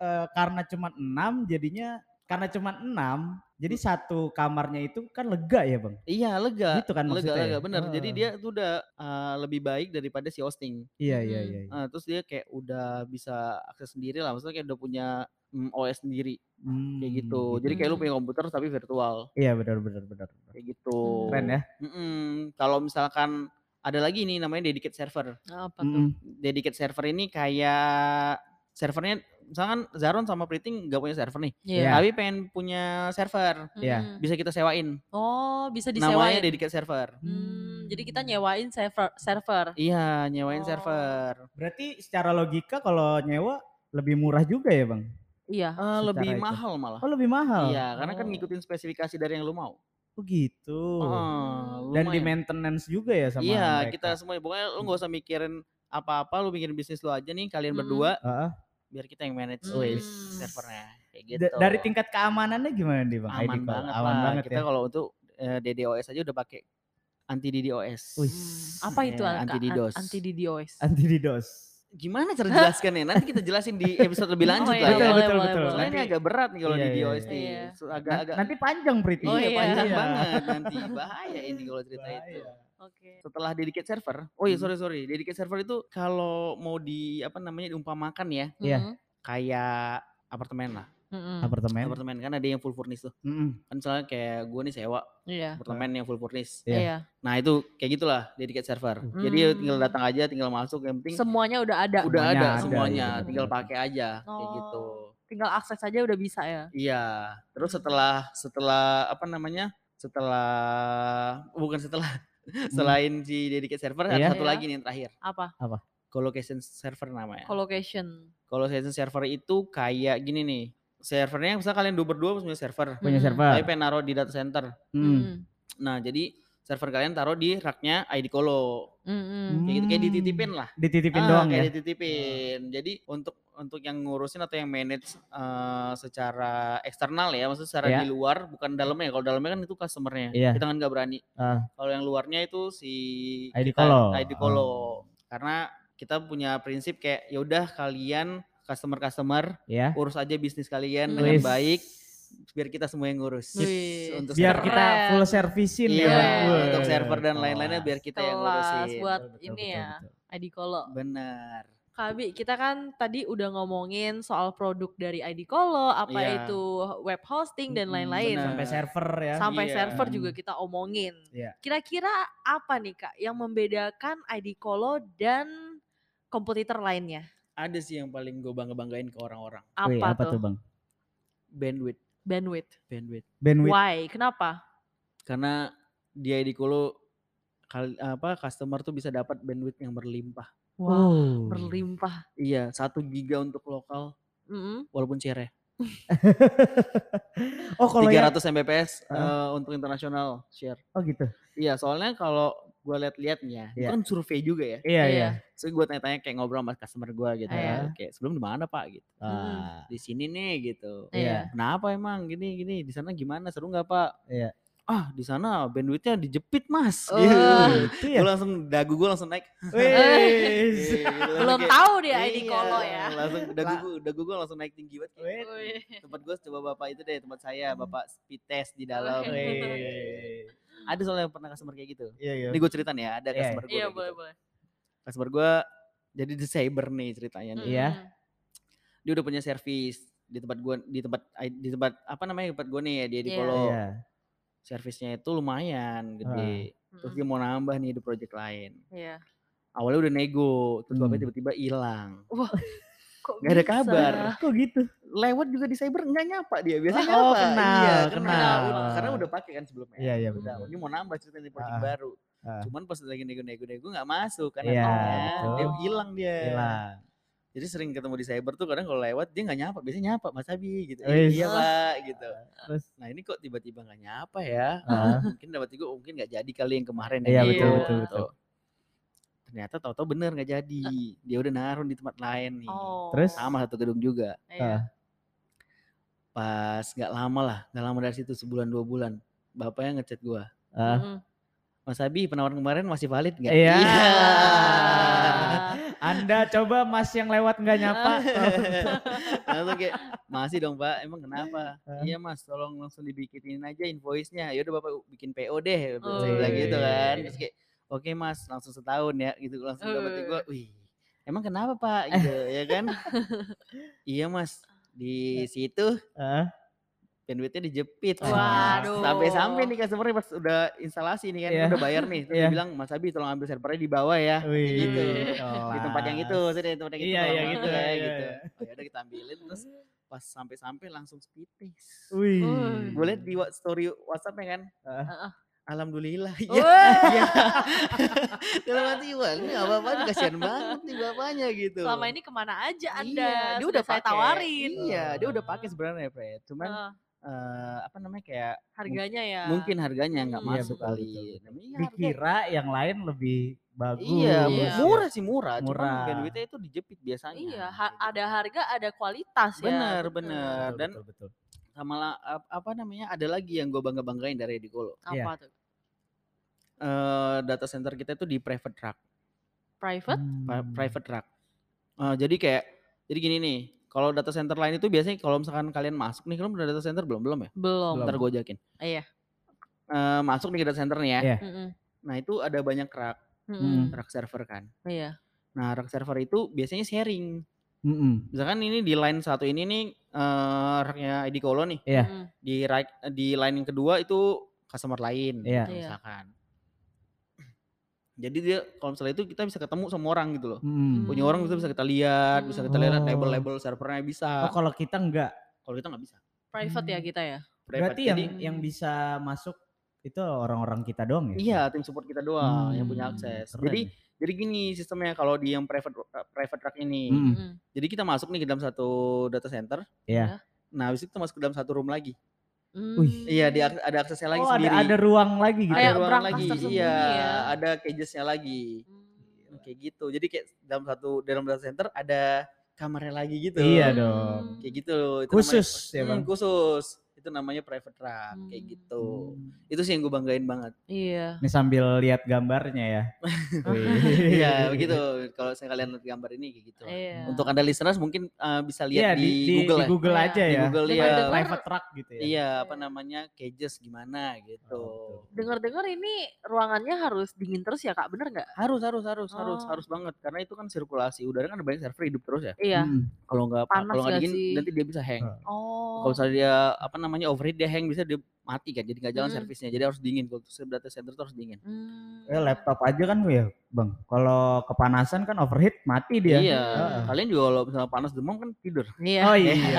Speaker 1: eh, karena cuma 6 jadinya karena cuma 6 Jadi satu kamarnya itu kan lega ya bang?
Speaker 3: Iya Hmm. lega.
Speaker 1: Gitu kan
Speaker 3: lega,
Speaker 1: maksudnya
Speaker 3: lega,
Speaker 1: ya?
Speaker 3: benar. Jadi
Speaker 1: Ah.
Speaker 3: dia tuh udah uh, lebih baik daripada si hosting.
Speaker 1: Iya iya
Speaker 2: Mhm.
Speaker 1: iya. iya.
Speaker 3: Ah, terus dia kayak udah bisa akses sendiri lah, maksudnya kayak udah punya mm, OS sendiri kayak
Speaker 1: Hmm,
Speaker 3: gitu. Jadi kayak lu
Speaker 2: Hmm.
Speaker 3: punya komputer tapi virtual
Speaker 1: Iya benar benar benar. benar.
Speaker 3: kayak gitu.
Speaker 1: Keren ya.
Speaker 3: Mm-mm. Kalau misalkan ada lagi nih namanya dedicated server.
Speaker 2: Oh, Apa tuh?
Speaker 1: Mm-mm.
Speaker 3: Dedicated server ini kayak servernya misalkan Zaron sama Priting nggak punya server nih,
Speaker 1: Ya.
Speaker 3: tapi pengen punya server
Speaker 1: Iya.
Speaker 2: Iya. Mm-mm.
Speaker 3: bisa kita sewain.
Speaker 2: Oh, bisa disewain.
Speaker 3: Namanya dedicated server.
Speaker 2: Hmm, jadi kita nyewain server server.
Speaker 3: Iya, nyewain
Speaker 2: Oh.
Speaker 3: server.
Speaker 1: Berarti secara logika kalau nyewa lebih murah juga ya bang?
Speaker 2: Iya.
Speaker 3: Eh, lebih
Speaker 1: itu.
Speaker 3: mahal malah.
Speaker 1: Oh lebih mahal.
Speaker 3: Iya, karena kan
Speaker 2: Oh.
Speaker 3: ngikutin spesifikasi dari yang lu mau. Ah,
Speaker 1: Begitu.
Speaker 3: Heeh,
Speaker 1: gitu. Dan di
Speaker 3: Oh, lumayan.
Speaker 1: maintenance juga ya sama
Speaker 3: Iya,
Speaker 1: mereka.
Speaker 3: kita semua pokoknya lu nggak usah mikirin apa-apa, lu mikirin bisnis lu aja nih kalian
Speaker 2: Mm-mm.
Speaker 3: berdua
Speaker 1: Heeh.
Speaker 3: biar kita yang manage
Speaker 2: Mm.
Speaker 3: wis, servernya kayak gitu.
Speaker 1: Hmm. Da- Dari tingkat keamanannya gimana nih bang?
Speaker 3: aman
Speaker 1: ID call?
Speaker 3: banget
Speaker 1: aman
Speaker 3: lah.
Speaker 1: banget
Speaker 3: kita
Speaker 1: ya.
Speaker 3: kalau untuk eh, DDoS aja udah pakai anti DDoS.
Speaker 1: Wih.
Speaker 2: Hmm, apa itu
Speaker 3: Ya,
Speaker 2: Kak?
Speaker 3: anti
Speaker 2: An-
Speaker 3: DDoS.
Speaker 2: Anti DDoS.
Speaker 1: Anti DDoS.
Speaker 3: Gimana cara jelaskannya? Nanti kita jelasin di episode lebih
Speaker 2: Oh,
Speaker 3: lanjut
Speaker 1: iya,
Speaker 3: lah.
Speaker 1: betul,
Speaker 3: ya.
Speaker 1: betul, betul.
Speaker 3: Soalnya ini
Speaker 1: Nanti-
Speaker 3: agak berat nih kalau
Speaker 1: Iya, iya,
Speaker 3: DDoS
Speaker 2: iya.
Speaker 3: nih.
Speaker 2: Iya.
Speaker 3: So, Agak-agak
Speaker 1: Nanti panjang Priti.
Speaker 2: Oh,
Speaker 3: iya,
Speaker 2: iya.
Speaker 3: panjang
Speaker 1: Iya.
Speaker 3: banget nanti. Bahaya ini kalau cerita itu.
Speaker 1: Bahaya.
Speaker 2: Oke.
Speaker 3: setelah dedicated server. Oh iya
Speaker 1: Hmm.
Speaker 3: sorry sorry, dedicated server itu kalau mau di apa namanya diumpamakan ya
Speaker 1: Iya.
Speaker 2: Mm-mm,
Speaker 3: kayak apartemen lah.
Speaker 2: mm-mm.
Speaker 1: Apartemen.
Speaker 3: Apartemen kan ada yang full furnish tuh.
Speaker 1: Mm-mm.
Speaker 3: Kan misalnya kayak gue nih sewa
Speaker 2: Iya.
Speaker 3: apartemen yang full furnish.
Speaker 1: Iya.
Speaker 2: Iya.
Speaker 3: Nah itu kayak gitulah dedicated server. Jadi ya tinggal
Speaker 2: Hmm.
Speaker 3: datang aja, tinggal masuk yang penting
Speaker 2: Semuanya udah ada.
Speaker 3: udah
Speaker 1: Semuanya
Speaker 3: ada
Speaker 1: ada,
Speaker 3: semuanya,
Speaker 1: iya,
Speaker 3: tinggal
Speaker 1: benar-benar.
Speaker 3: pakai aja kayak gitu.
Speaker 2: Oh. Tinggal akses aja udah bisa ya.
Speaker 3: Iya. Terus
Speaker 2: Hmm.
Speaker 3: setelah setelah apa namanya? Setelah bukan setelah selain si dedicated server
Speaker 1: Iya.
Speaker 3: ada satu
Speaker 2: Iya.
Speaker 3: lagi nih yang terakhir.
Speaker 2: Apa?
Speaker 3: Colocation server namanya.
Speaker 2: Colocation.
Speaker 3: Kalau session server itu kayak gini nih. Servernya misalnya kalian dua berdua punya server.
Speaker 1: Punya
Speaker 2: Mm.
Speaker 1: server.
Speaker 3: Tapi pengen naruh di data center.
Speaker 1: Mm.
Speaker 3: Nah, jadi server kalian taruh di raknya ID Colo.
Speaker 2: Mm-mm, mm-mm.
Speaker 3: Kayak gitu kayak
Speaker 1: Hmm.
Speaker 3: dititipin lah.
Speaker 1: Dititipin
Speaker 3: Ah,
Speaker 1: doang
Speaker 3: kayak
Speaker 1: ya.
Speaker 3: dititipin. Jadi untuk untuk yang ngurusin atau yang manage eh, secara eksternal ya, maksudnya secara
Speaker 1: Iya.
Speaker 3: di luar bukan dalamnya. Kalau dalamnya kan itu customernya.
Speaker 1: Iya.
Speaker 3: Kita kan nggak berani.
Speaker 1: Ah.
Speaker 3: Kalau yang luarnya itu si
Speaker 1: ID
Speaker 3: kita-
Speaker 1: Colo. Ah.
Speaker 3: ID Colo. Karena kita punya prinsip kayak yaudah kalian customer-customer
Speaker 1: Ya.
Speaker 3: urus aja bisnis kalian dengan
Speaker 1: Wis.
Speaker 3: baik biar kita semua yang ngurus
Speaker 2: Wih.
Speaker 3: untuk
Speaker 1: Biar
Speaker 3: server.
Speaker 1: kita
Speaker 2: Keren.
Speaker 1: full servisin
Speaker 3: iya,
Speaker 1: ya.
Speaker 2: Bang.
Speaker 1: Wah.
Speaker 3: untuk server dan lain-lainnya biar kita yang
Speaker 2: Kelas
Speaker 3: ngurusin
Speaker 2: buat
Speaker 1: Betul, betul,
Speaker 2: ini
Speaker 1: betul,
Speaker 2: ya.
Speaker 1: betul.
Speaker 2: ID Colo.
Speaker 3: benar
Speaker 2: Kabi, kita kan tadi udah ngomongin soal produk dari ID Colo, apa
Speaker 3: Iya.
Speaker 2: itu web hosting dan
Speaker 3: Mm-mm,
Speaker 2: lain-lain.
Speaker 3: benar.
Speaker 1: Sampai server ya.
Speaker 2: Sampai
Speaker 3: Iya.
Speaker 2: server juga kita omongin.
Speaker 1: Iya.
Speaker 2: Kira-kira apa nih Kak yang membedakan ID Colo dan kompetitor lainnya?
Speaker 3: ada sih yang paling gue bangga banggain ke orang-orang
Speaker 2: Apa,
Speaker 1: Wih,
Speaker 2: tuh?
Speaker 1: bang?
Speaker 3: bandwidth
Speaker 2: Bandwidth.
Speaker 3: bandwidth
Speaker 1: Bandwidth.
Speaker 2: Why? Kenapa?
Speaker 3: karena di ID Kolo kal- apa customer tuh bisa dapat bandwidth yang berlimpah
Speaker 2: Wah,
Speaker 1: Oh.
Speaker 2: berlimpah.
Speaker 3: iya satu giga untuk lokal
Speaker 2: Mm-mm.
Speaker 3: walaupun share
Speaker 1: oh kalau
Speaker 3: tiga
Speaker 1: yang
Speaker 3: ratus mbps
Speaker 1: Hah?
Speaker 3: eh, untuk internasional share
Speaker 1: oh gitu.
Speaker 3: iya soalnya kalau gue lihat-lihatnya itu
Speaker 1: Iya.
Speaker 3: kan survei juga
Speaker 1: Iya
Speaker 3: ya
Speaker 2: Iya.
Speaker 1: iya.
Speaker 3: So gue tanya-tanya kayak ngobrol sama customer gue gitu.
Speaker 2: Iya.
Speaker 3: Oke, sebelum di mana Pak gitu.
Speaker 1: Ah,
Speaker 3: Di sini nih gitu.
Speaker 1: Iya.
Speaker 3: Kenapa emang gini gini? Di sana gimana? Seru nggak Pak?
Speaker 1: Iya.
Speaker 3: Ah, di sana bandwidthnya dijepit Mas.
Speaker 2: Oh.
Speaker 3: Gitu.
Speaker 1: Itu ya.
Speaker 3: Gue langsung dagu gue langsung naik.
Speaker 1: Wis.
Speaker 3: Gitu, langsung
Speaker 2: Belum
Speaker 3: kayak,
Speaker 2: tahu deh ID
Speaker 3: iya,
Speaker 2: Colo ya.
Speaker 3: Langsung dagu
Speaker 1: Lah.
Speaker 3: gue dagu gue langsung naik tinggi banget.
Speaker 1: Wih.
Speaker 2: Wih.
Speaker 3: Tempat gue coba bapak itu deh tempat saya
Speaker 1: Hmm.
Speaker 3: bapak speed test di dalam.
Speaker 2: Oke.
Speaker 1: Wih.
Speaker 3: Ada soalnya pernah customer kayak gitu.
Speaker 1: Iya iya.
Speaker 3: Ini gue cerita nih ya, ada
Speaker 1: Iya, iya.
Speaker 3: customer gue.
Speaker 2: Iya
Speaker 3: kayak gitu.
Speaker 2: boleh-boleh.
Speaker 3: Customer gue jadi the cyber nih ceritanya
Speaker 2: Hmm.
Speaker 3: nih.
Speaker 1: Iya.
Speaker 3: dia udah punya servis di tempat gua di tempat di tempat apa namanya di tempat gua nih ya dia di
Speaker 2: Iya.
Speaker 3: Polo.
Speaker 1: Iya. Ah.
Speaker 3: Servisnya itu lumayan gede. Terus dia mau nambah nih di project lain.
Speaker 2: Iya.
Speaker 3: Awalnya udah nego, terus
Speaker 1: Hmm.
Speaker 3: bapaknya tiba-tiba hilang.
Speaker 2: Kok
Speaker 3: Nggak ada
Speaker 2: bisa?
Speaker 3: kabar.
Speaker 1: Kok gitu?
Speaker 3: Lewat juga di cyber nggak nyapa dia. Biasanya
Speaker 1: Oh,
Speaker 3: nyapa.
Speaker 1: kenal,
Speaker 3: iya,
Speaker 1: kenal.
Speaker 3: Udah- Karena udah pakai kan sebelumnya.
Speaker 1: Iya, iya,
Speaker 3: Udah,
Speaker 1: benar.
Speaker 3: Ini mau nambah cerita di project
Speaker 1: Ah,
Speaker 3: baru.
Speaker 1: ah.
Speaker 3: Cuman pas lagi nego-nego-nego nggak masuk karena
Speaker 1: Iya,
Speaker 3: akhirnya dia
Speaker 2: betul.
Speaker 3: hilang dia.
Speaker 1: Hilang.
Speaker 3: Jadi sering ketemu di cyber tuh kadang kalau lewat dia nggak nyapa, biasanya nyapa Mas Abi gitu.
Speaker 1: Wis.
Speaker 3: Iya, Pak gitu.
Speaker 1: Terus
Speaker 3: Nah ini kok tiba-tiba nggak nyapa ya?
Speaker 1: Ah.
Speaker 3: Mungkin dapat juga mungkin nggak jadi kali yang kemarin.
Speaker 1: Iya,
Speaker 3: ya
Speaker 2: betul,
Speaker 3: gitu.
Speaker 1: betul, betul. Nah.
Speaker 3: Ternyata tahu-tahu bener nggak jadi. Dia udah naruh di tempat lain nih.
Speaker 2: Oh.
Speaker 1: Terus?
Speaker 3: Sama satu gedung juga.
Speaker 2: Iya.
Speaker 3: Pas nggak lama lah, nggak lama dari situ sebulan dua bulan. Bapaknya ngechat gua,
Speaker 1: ah,
Speaker 2: Mm-mm.
Speaker 3: Mas Abi penawaran kemarin masih valid nggak?
Speaker 1: Iya.
Speaker 3: Iya.
Speaker 1: Anda coba Mas yang lewat nggak nyapa.
Speaker 3: Langsung Nah, kayak masih dong Pak, emang kenapa? Iya Mas, tolong langsung dibikinin aja invoice-nya. Ya udah Bapak bikin PO deh, saya bilang gitu kan. Terus kayak oke Mas, langsung setahun ya gitu langsung dapat
Speaker 2: Eh.
Speaker 3: gua. Wih. Emang kenapa Pak gitu ya kan? iya Mas, di situ
Speaker 1: Heeh.
Speaker 2: Ah.
Speaker 3: bandwidthnya dijepit.
Speaker 2: Waduh.
Speaker 3: Sampai-sampai nih customer pas udah instalasi nih kan,
Speaker 1: Iya.
Speaker 3: udah bayar nih. Terus
Speaker 1: Iya.
Speaker 3: dibilang, Mas Abi tolong ambil servernya di bawah ya.
Speaker 1: Ah. Wih,
Speaker 3: Gitu. Di tempat yang
Speaker 1: kelas.
Speaker 3: itu, terus di tempat yang itu.
Speaker 1: Iya,
Speaker 3: tolong
Speaker 1: iya,
Speaker 3: ambil
Speaker 1: gitu,
Speaker 3: ya,
Speaker 1: iya,
Speaker 3: gitu.
Speaker 1: iya.
Speaker 3: Oh ya udah kita ambilin terus pas sampai-sampai langsung spitting.
Speaker 1: Wih.
Speaker 2: Woi. Iya,
Speaker 3: Gue liat di wa- story WhatsApp-nya kan.
Speaker 1: Hmm. Heeh.
Speaker 2: Heeh. Oh.
Speaker 3: Alhamdulillah.
Speaker 2: Woi.
Speaker 3: Iya. Iya.
Speaker 1: gitu.
Speaker 3: Dalam hati wah ini nggak apa-apa kasihan banget nih bapaknya gitu.
Speaker 2: Selama ini kemana aja Anda?
Speaker 3: Iya, dia
Speaker 2: Sudah
Speaker 3: udah
Speaker 2: saya
Speaker 3: pakai.
Speaker 2: tawarin.
Speaker 3: Iya, kan? dia udah pakai
Speaker 2: Ah.
Speaker 3: sebenarnya, Fred. Cuman
Speaker 2: Heeh,
Speaker 3: eh, apa namanya kayak
Speaker 2: harganya ya.
Speaker 3: mungkin harganya nggak
Speaker 2: Hmm. Iya,
Speaker 3: masuk
Speaker 1: betul,
Speaker 3: kali.
Speaker 1: betul,
Speaker 3: Namanya harga-
Speaker 1: Dikira yang lain lebih bagus.
Speaker 3: Iya,
Speaker 2: Iya.
Speaker 3: murah sih murah.
Speaker 1: Murah.
Speaker 3: Cuman bandwidthnya itu dijepit biasanya.
Speaker 2: Iya, ha-
Speaker 3: Kayak
Speaker 2: ada
Speaker 3: gitu.
Speaker 2: harga, ada kualitas ya.
Speaker 3: Bener,
Speaker 2: betul.
Speaker 3: bener.
Speaker 1: Betul,
Speaker 3: Dan
Speaker 1: betul, betul.
Speaker 3: sama la- ap- apa namanya ada lagi yang gue bangga banggain dari Edikolo.
Speaker 1: Iya.
Speaker 2: Apa tuh?
Speaker 3: Eh data center kita itu di private rack,
Speaker 2: Private?
Speaker 3: pri-
Speaker 1: Hmm.
Speaker 3: private rack. Eh, jadi kayak, jadi gini nih, kalau data center lain itu biasanya kalau misalkan kalian masuk nih, kalian udah data center belum belum ya?
Speaker 2: Belum.
Speaker 1: Belum.
Speaker 3: Ntar gue ajakin.
Speaker 2: Iya.
Speaker 3: Eh, masuk nih ke data center nih ya.
Speaker 1: Iya.
Speaker 2: Mm-mm,
Speaker 3: Nah itu ada banyak rack,
Speaker 2: mm-mm.
Speaker 1: Hmm.
Speaker 3: rack server kan.
Speaker 2: Iya.
Speaker 3: Nah rack server itu biasanya sharing.
Speaker 1: Mm-mm.
Speaker 3: Misalkan ini di line satu ini nih eh racknya Edikolo nih.
Speaker 1: Iya.
Speaker 2: Mm-mm.
Speaker 3: di right, di line yang kedua itu customer lain Nah,
Speaker 1: Iya.
Speaker 2: Iya.
Speaker 3: misalkan. Jadi dia kalau misalnya itu kita bisa ketemu sama orang gitu loh.
Speaker 1: Mm-mm.
Speaker 3: Punya orang itu bisa kita lihat, bisa kita lihat
Speaker 1: Oh.
Speaker 3: label-label servernya bisa.
Speaker 1: Oh, kalau kita enggak.
Speaker 3: Kalau kita nggak bisa.
Speaker 2: Private ya
Speaker 1: Hmm.
Speaker 2: kita ya.
Speaker 3: Private.
Speaker 1: Berarti yang
Speaker 3: Jadi,
Speaker 1: yang bisa masuk itu orang-orang kita doang ya?
Speaker 3: iya tim support kita doang yang punya
Speaker 2: Hmm,
Speaker 3: akses.
Speaker 1: Keren
Speaker 3: Jadi
Speaker 1: ya.
Speaker 3: jadi gini sistemnya kalau di yang private eh, private rack ini.
Speaker 1: Mm-mm.
Speaker 2: Mm-mm.
Speaker 3: Jadi kita masuk nih ke dalam satu data center.
Speaker 1: Iya.
Speaker 3: Nah, habis itu kita masuk ke dalam satu room lagi.
Speaker 1: Wih.
Speaker 2: Mm.
Speaker 3: Iya, dia ada aksesnya
Speaker 1: oh,
Speaker 3: lagi
Speaker 1: ada
Speaker 3: sendiri.
Speaker 1: ada ruang lagi gitu.
Speaker 3: ada
Speaker 1: ya?
Speaker 2: Kayak
Speaker 3: ruangan
Speaker 2: berangkas
Speaker 3: lagi.
Speaker 2: tersembunyi
Speaker 3: Iya,
Speaker 2: ya.
Speaker 3: ada cagesnya lagi.
Speaker 2: Mm.
Speaker 3: kayak gitu jadi kayak dalam satu dalam data center ada kamarnya lagi gitu
Speaker 1: Iya dong.
Speaker 2: Mm.
Speaker 3: kayak gitu loh itu
Speaker 1: Khusus
Speaker 3: namanya,
Speaker 1: ya, Bang.
Speaker 3: Hmm, khusus itu namanya private rack kayak
Speaker 2: Hmm.
Speaker 3: gitu itu sih yang gue banggain banget
Speaker 2: Iya.
Speaker 1: Ini sambil lihat gambarnya ya.
Speaker 3: iya begitu kalau saya kalian lihat gambar ini kayak gitu
Speaker 2: Iya.
Speaker 3: untuk anda listeners mungkin eh, bisa
Speaker 1: Iya
Speaker 3: lihat
Speaker 1: di, di
Speaker 3: Google
Speaker 1: di
Speaker 3: ya
Speaker 1: Google
Speaker 2: Iya.
Speaker 1: aja
Speaker 3: Di
Speaker 1: ya.
Speaker 3: Google,
Speaker 1: Di
Speaker 3: iya.
Speaker 1: Private truck gitu ya.
Speaker 3: iya apa namanya cages gimana gitu
Speaker 1: Oh, betul.
Speaker 2: Dengar-dengar ini ruangannya harus dingin terus ya Kak, bener nggak?
Speaker 3: harus harus harus harus
Speaker 2: Oh.
Speaker 3: harus banget karena itu kan sirkulasi udara kan ada banyak server hidup terus ya
Speaker 2: Iya.
Speaker 1: Mm.
Speaker 3: kalau nggak
Speaker 2: Panas
Speaker 3: kalau nggak
Speaker 2: nggak
Speaker 3: dingin
Speaker 2: sih?
Speaker 3: nanti dia bisa hang
Speaker 2: Oh.
Speaker 3: kalau misalnya dia apa namanya overheat dia hang bisa dia mati kan jadi nggak jalan
Speaker 2: Mm.
Speaker 3: servisnya jadi harus dingin kalau tuh data center tuh harus dingin
Speaker 2: Hmm.
Speaker 1: Ya, laptop aja kan ya, Bang. Kalau kepanasan kan overheat mati dia.
Speaker 3: iya
Speaker 1: Heeh.
Speaker 3: kalian juga kalau misalnya panas demam kan tidur
Speaker 2: Iya.
Speaker 1: Oh iya, benar
Speaker 2: Iya,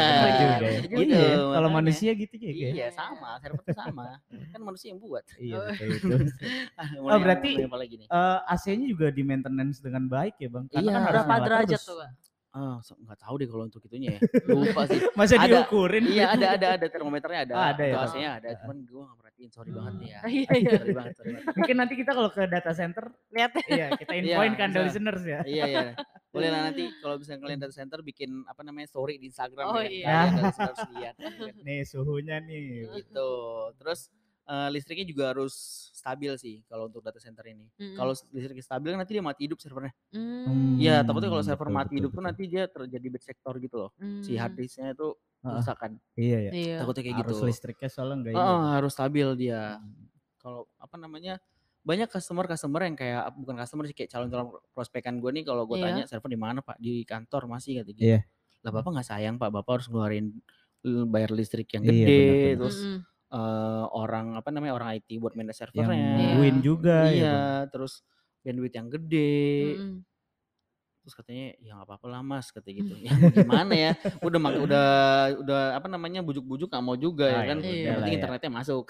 Speaker 1: juga. ya.
Speaker 3: gitu,
Speaker 1: Iya, ya, kalau
Speaker 3: makanya.
Speaker 1: manusia gitu juga ya.
Speaker 3: iya
Speaker 2: Iya.
Speaker 3: sama server tuh sama kan manusia yang buat
Speaker 1: Iya,
Speaker 2: Oh.
Speaker 1: betul betul.
Speaker 3: Ah, mulai yang-
Speaker 1: Oh, berarti-
Speaker 3: mulai apa lagi nih
Speaker 1: Eh, AC-nya juga di maintenance dengan baik ya, Bang. Karena
Speaker 3: Iya.
Speaker 1: kan harus
Speaker 2: Berapa
Speaker 1: nyala
Speaker 2: derajat
Speaker 1: terus.
Speaker 2: tuh Kak?
Speaker 3: ah so- nggak tahu deh kalau untuk itunya ya lupa sih
Speaker 1: Masa
Speaker 3: Ada.
Speaker 1: diukurin?
Speaker 3: iya ada ada ada termometernya ada
Speaker 1: Ah, ada ya,
Speaker 3: untuk
Speaker 1: Pak.
Speaker 3: AC-nya ada
Speaker 1: Iya.
Speaker 3: cuman gue nggak perhatiin sorry banget nih ya
Speaker 2: Iya, iya.
Speaker 3: sorry banget sorry banget
Speaker 1: Mungkin nanti kita kalau ke data center,
Speaker 2: Lihat
Speaker 1: iya kita
Speaker 3: Iya,
Speaker 1: infoin ke Anda
Speaker 3: bisa.
Speaker 1: listeners ya.
Speaker 3: iya iya boleh lah nanti kalau bisa kalian data center bikin apa namanya story di Instagram
Speaker 2: Oh,
Speaker 3: ya kan.
Speaker 2: iya.
Speaker 3: Kalian data center harus lihat kan, kan.
Speaker 1: Nih suhunya nih.
Speaker 3: gitu. Terus eh, listriknya juga harus stabil sih kalau untuk data center ini.
Speaker 2: Mm-mm.
Speaker 3: Kalau listriknya stabil kan nanti dia mati hidup servernya.
Speaker 2: Hmm.
Speaker 1: Hmm,
Speaker 3: Iya, takutnya kalau server
Speaker 1: betul,
Speaker 3: mati
Speaker 1: betul,
Speaker 3: hidup tuh
Speaker 1: betul.
Speaker 3: nanti dia terjadi bad sector gitu loh. Si hard disknya itu
Speaker 1: Heeh.
Speaker 3: rusak kan.
Speaker 1: Iya ya.
Speaker 2: mm, Hmm. Iya.
Speaker 3: Takutnya kayak
Speaker 1: Harus
Speaker 3: gitu.
Speaker 1: listriknya soalnya enggak
Speaker 3: Heeh,
Speaker 1: ini.
Speaker 3: harus stabil dia.
Speaker 1: Hmm.
Speaker 3: Kalau apa namanya? Banyak customer-customer yang kayak bukan customer sih kayak calon-calon prospekan gue nih kalau gue
Speaker 2: Iya.
Speaker 3: tanya server di mana Pak? Di kantor masih kata gitu.
Speaker 1: Iya.
Speaker 3: Lah Bapak nggak sayang Pak, Bapak harus ngeluarin eh, bayar listrik yang
Speaker 1: Iya,
Speaker 3: gede
Speaker 1: benar-benar.
Speaker 3: terus
Speaker 2: Mm-mm.
Speaker 3: eh orang apa namanya orang IT buat manage
Speaker 1: Yang
Speaker 3: servernya.
Speaker 2: Iya.
Speaker 1: win juga
Speaker 3: Iya,
Speaker 1: ya. Bang.
Speaker 3: terus bandwidth yang gede.
Speaker 2: Mm-mm.
Speaker 3: Terus katanya ya nggak apa-apa lah Mas kata gitu. Ya mau gimana ya? Udah mak udah udah apa namanya bujuk-bujuk nggak mau juga ya
Speaker 1: Ah,
Speaker 3: kan.
Speaker 2: ya
Speaker 3: Yang
Speaker 2: udah
Speaker 3: penting
Speaker 1: lah ya.
Speaker 3: internetnya masuk.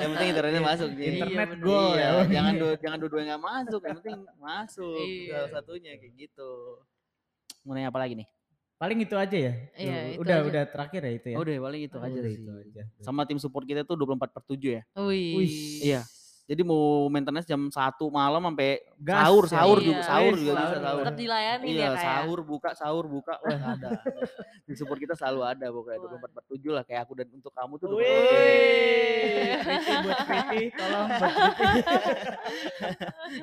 Speaker 3: yang penting internetnya masuk jadi.
Speaker 1: Internet
Speaker 2: bener.
Speaker 1: go
Speaker 3: Iya,
Speaker 1: ya. Bang.
Speaker 3: jangan dua jangan dua-duanya nggak masuk, yang penting masuk
Speaker 2: Iya.
Speaker 3: salah satunya kayak gitu. Mau nanya apa lagi nih?
Speaker 1: Paling itu aja ya.
Speaker 2: Iya,
Speaker 1: Dulu.
Speaker 2: itu
Speaker 1: udah
Speaker 2: aja. Oh,
Speaker 1: udah terakhir ya itu ya.
Speaker 3: Iya. Udah paling itu aja
Speaker 1: Udah
Speaker 3: sih.
Speaker 1: itu aja.
Speaker 3: Sama tim support kita tuh 24 per 7 ya.
Speaker 2: Wih.
Speaker 1: Wih.
Speaker 3: Iya. Jadi mau maintenance jam 1 malam sampai
Speaker 1: Gas
Speaker 3: sahur,
Speaker 1: ya.
Speaker 3: sahur
Speaker 2: Iya.
Speaker 3: juga, sahur juga
Speaker 1: Sahur.
Speaker 3: bisa sahur.
Speaker 2: Tetap dilayani
Speaker 3: Iya,
Speaker 2: ya kayak.
Speaker 3: sahur buka, sahur buka, wah ada. Di support kita selalu ada pokoknya
Speaker 2: Wah.
Speaker 3: 24 per 7 lah kayak aku dan untuk kamu tuh. 24 per tujuh.
Speaker 1: Wih, Kriti buat Kriti, tolong buat Kriti.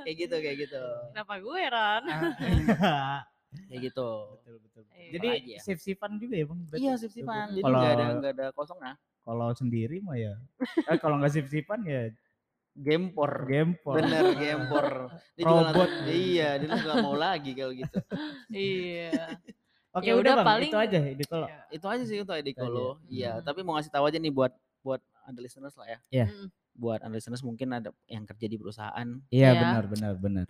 Speaker 3: Kayak gitu, kayak gitu.
Speaker 2: Kenapa gue Ron?
Speaker 3: Ah. Kayak gitu.
Speaker 1: betul, betul.
Speaker 2: Iya.
Speaker 1: Jadi
Speaker 3: Apalagi ya?
Speaker 1: sip-sipan juga ya bang? berarti?
Speaker 3: Iya, sip-sipan. Jadi
Speaker 1: Kalau-
Speaker 3: enggak ada enggak ada kosong nah.
Speaker 1: Kalau sendiri mah ya, eh, kalau nggak sip-sipan ya
Speaker 3: Gempor.
Speaker 1: gempor.
Speaker 3: Bener, gempor. Dia juga
Speaker 1: Robot.
Speaker 3: langsung- iya, dia langsung nggak mau lagi kalau gitu.
Speaker 2: iya.
Speaker 1: Oke
Speaker 2: Ya
Speaker 1: udah
Speaker 2: udah,
Speaker 1: bang,
Speaker 2: paling-
Speaker 1: itu aja itu kalau.
Speaker 2: Iya.
Speaker 3: Itu aja sih untuk
Speaker 1: Itu aja.
Speaker 3: Ediko lo. Iya,
Speaker 2: Hmm.
Speaker 3: tapi mau ngasih tahu aja nih buat buat ada listeners lah ya.
Speaker 1: Iya.
Speaker 2: Mm.
Speaker 3: Buat ada listeners mungkin ada yang kerja di perusahaan.
Speaker 1: Iya
Speaker 2: Iya.
Speaker 1: benar benar benar.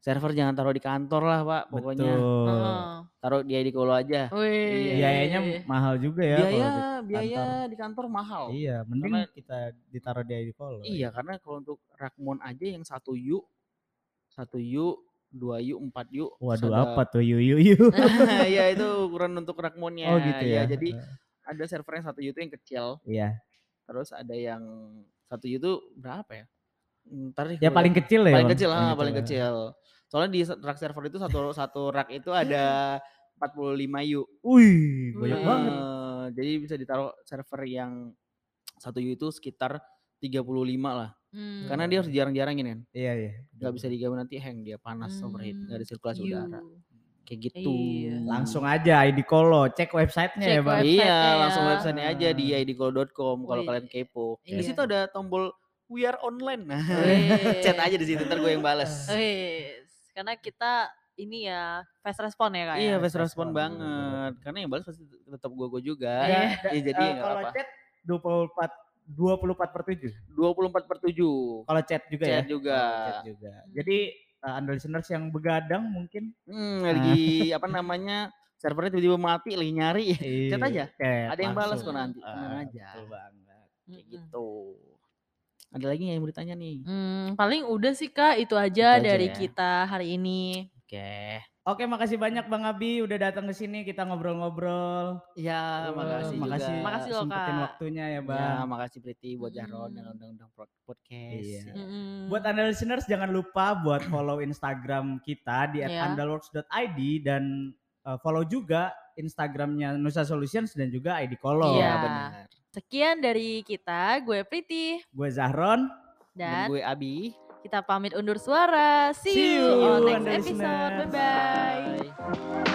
Speaker 3: Server jangan taruh di kantor lah, Pak. Pokoknya Oh, iya,
Speaker 1: Betul.
Speaker 2: Heeh.
Speaker 3: taruh di Ediko lo aja.
Speaker 2: Wih.
Speaker 1: Biayanya mahal juga ya. kalau
Speaker 3: biaya
Speaker 1: di-
Speaker 3: biaya di kantor mahal.
Speaker 1: Iya, mending
Speaker 3: Karena-
Speaker 1: kita ditaruh di ID call.
Speaker 3: Iya, karena kalau untuk Rakmon aja yang satu U, satu U, dua U, empat U. terus
Speaker 1: Waduh
Speaker 3: ada-
Speaker 1: apa tuh yu yu yu.
Speaker 3: Iya itu ukuran untuk
Speaker 1: oh
Speaker 3: Rakmonnya.
Speaker 1: gitu ya.
Speaker 3: Iya, Jadi
Speaker 1: Eh,
Speaker 3: ada server yang satu U itu yang kecil,
Speaker 1: Iya.
Speaker 3: terus ada yang satu U itu berapa ya? Ntar deh
Speaker 1: Ya
Speaker 3: gua
Speaker 1: paling
Speaker 3: lihat.
Speaker 1: kecil ya.
Speaker 3: paling
Speaker 1: Bang?
Speaker 3: kecil, ah, paling
Speaker 1: ya.
Speaker 3: kecil. Soalnya di rak server itu satu satu rak itu ada 45 U.
Speaker 1: Wih, banyak
Speaker 2: Wih.
Speaker 1: banget.
Speaker 3: Eh, jadi bisa ditaruh server yang satu U itu sekitar 35 lah.
Speaker 2: Hmm.
Speaker 3: Karena dia harus jarang-jarangin kan.
Speaker 1: Iya iya.
Speaker 3: Nggak bisa digabung nanti hang dia panas overheat, nggak ada sirkulasi
Speaker 2: Yuh.
Speaker 3: udara. Kayak gitu.
Speaker 2: Hmm. Iya.
Speaker 1: Langsung aja ID Kolo, cek websitenya ya
Speaker 2: Cek
Speaker 1: bang.
Speaker 2: web-
Speaker 3: Iya,
Speaker 2: websitenya
Speaker 3: langsung
Speaker 2: ya.
Speaker 3: websitenya Hmm. aja di idcall.com kalau
Speaker 2: Wih.
Speaker 3: kalian kepo. Di
Speaker 2: Iya.
Speaker 3: situ ada tombol we are online. Nah,
Speaker 2: Wih.
Speaker 3: chat aja di situ ntar gue yang balas.
Speaker 2: Wes, karena kita ini ya fast respon ya kak ya?
Speaker 3: Iya, fast
Speaker 1: respon,
Speaker 3: respon
Speaker 1: bener-bener.
Speaker 3: banget. Karena yang balas pasti tetap gue gue juga.
Speaker 2: Iya.
Speaker 3: Ya, jadi
Speaker 1: Eh,
Speaker 3: nggak
Speaker 1: kalau
Speaker 3: apa-apa.
Speaker 1: chat 24 24 per 7.
Speaker 3: 24 per 7.
Speaker 1: Kalau chat juga ya.
Speaker 3: Chat juga.
Speaker 1: Kalau Chat juga. Jadi eh, anda listeners yang begadang mungkin
Speaker 3: Hmm, lagi apa namanya? Servernya tiba-tiba mati lagi nyari.
Speaker 1: Iya, chat
Speaker 3: Iya. aja. Ada yang balas kok
Speaker 2: langsung.
Speaker 3: nanti. Tenang
Speaker 1: Ah,
Speaker 3: aja.
Speaker 1: Betul banget.
Speaker 3: Kayak
Speaker 2: Mm-mm.
Speaker 3: gitu. Ada lagi nggak yang mau ditanya nih?
Speaker 2: Hmm, paling udah sih kak itu aja
Speaker 3: Itu aja
Speaker 2: dari
Speaker 3: ya.
Speaker 2: kita hari ini.
Speaker 3: Oke.
Speaker 1: Oke, makasih banyak Bang Abi udah datang ke sini kita ngobrol-ngobrol. Eh,
Speaker 3: Ya, makasih Hmm. juga.
Speaker 1: Makasih,
Speaker 2: Makasih loh,
Speaker 1: sempetin
Speaker 2: Kak.
Speaker 1: waktunya ya,
Speaker 3: Ya,
Speaker 1: Bang.
Speaker 3: makasih Priti buat Jaron yang
Speaker 2: Mm.
Speaker 3: undang-undang pro- podcast.
Speaker 1: Iya.
Speaker 3: Ya.
Speaker 2: Mm-mm.
Speaker 1: Buat Anda listeners jangan lupa buat follow Instagram kita di
Speaker 3: Iya.
Speaker 2: Ya.
Speaker 1: @andalworks.id dan eh, follow juga Instagramnya Nusa Solutions dan juga ID Kolo.
Speaker 2: Iya.
Speaker 3: Oh, benar.
Speaker 2: Sekian dari kita, gue Priti
Speaker 1: Gue Zahron.
Speaker 3: Dan
Speaker 2: dan
Speaker 3: gue Abi.
Speaker 2: kita pamit undur suara. See,
Speaker 1: See
Speaker 2: you
Speaker 1: you,
Speaker 2: on next
Speaker 1: Anda
Speaker 2: episode.
Speaker 1: listeners.
Speaker 2: Bye bye.
Speaker 3: Bye.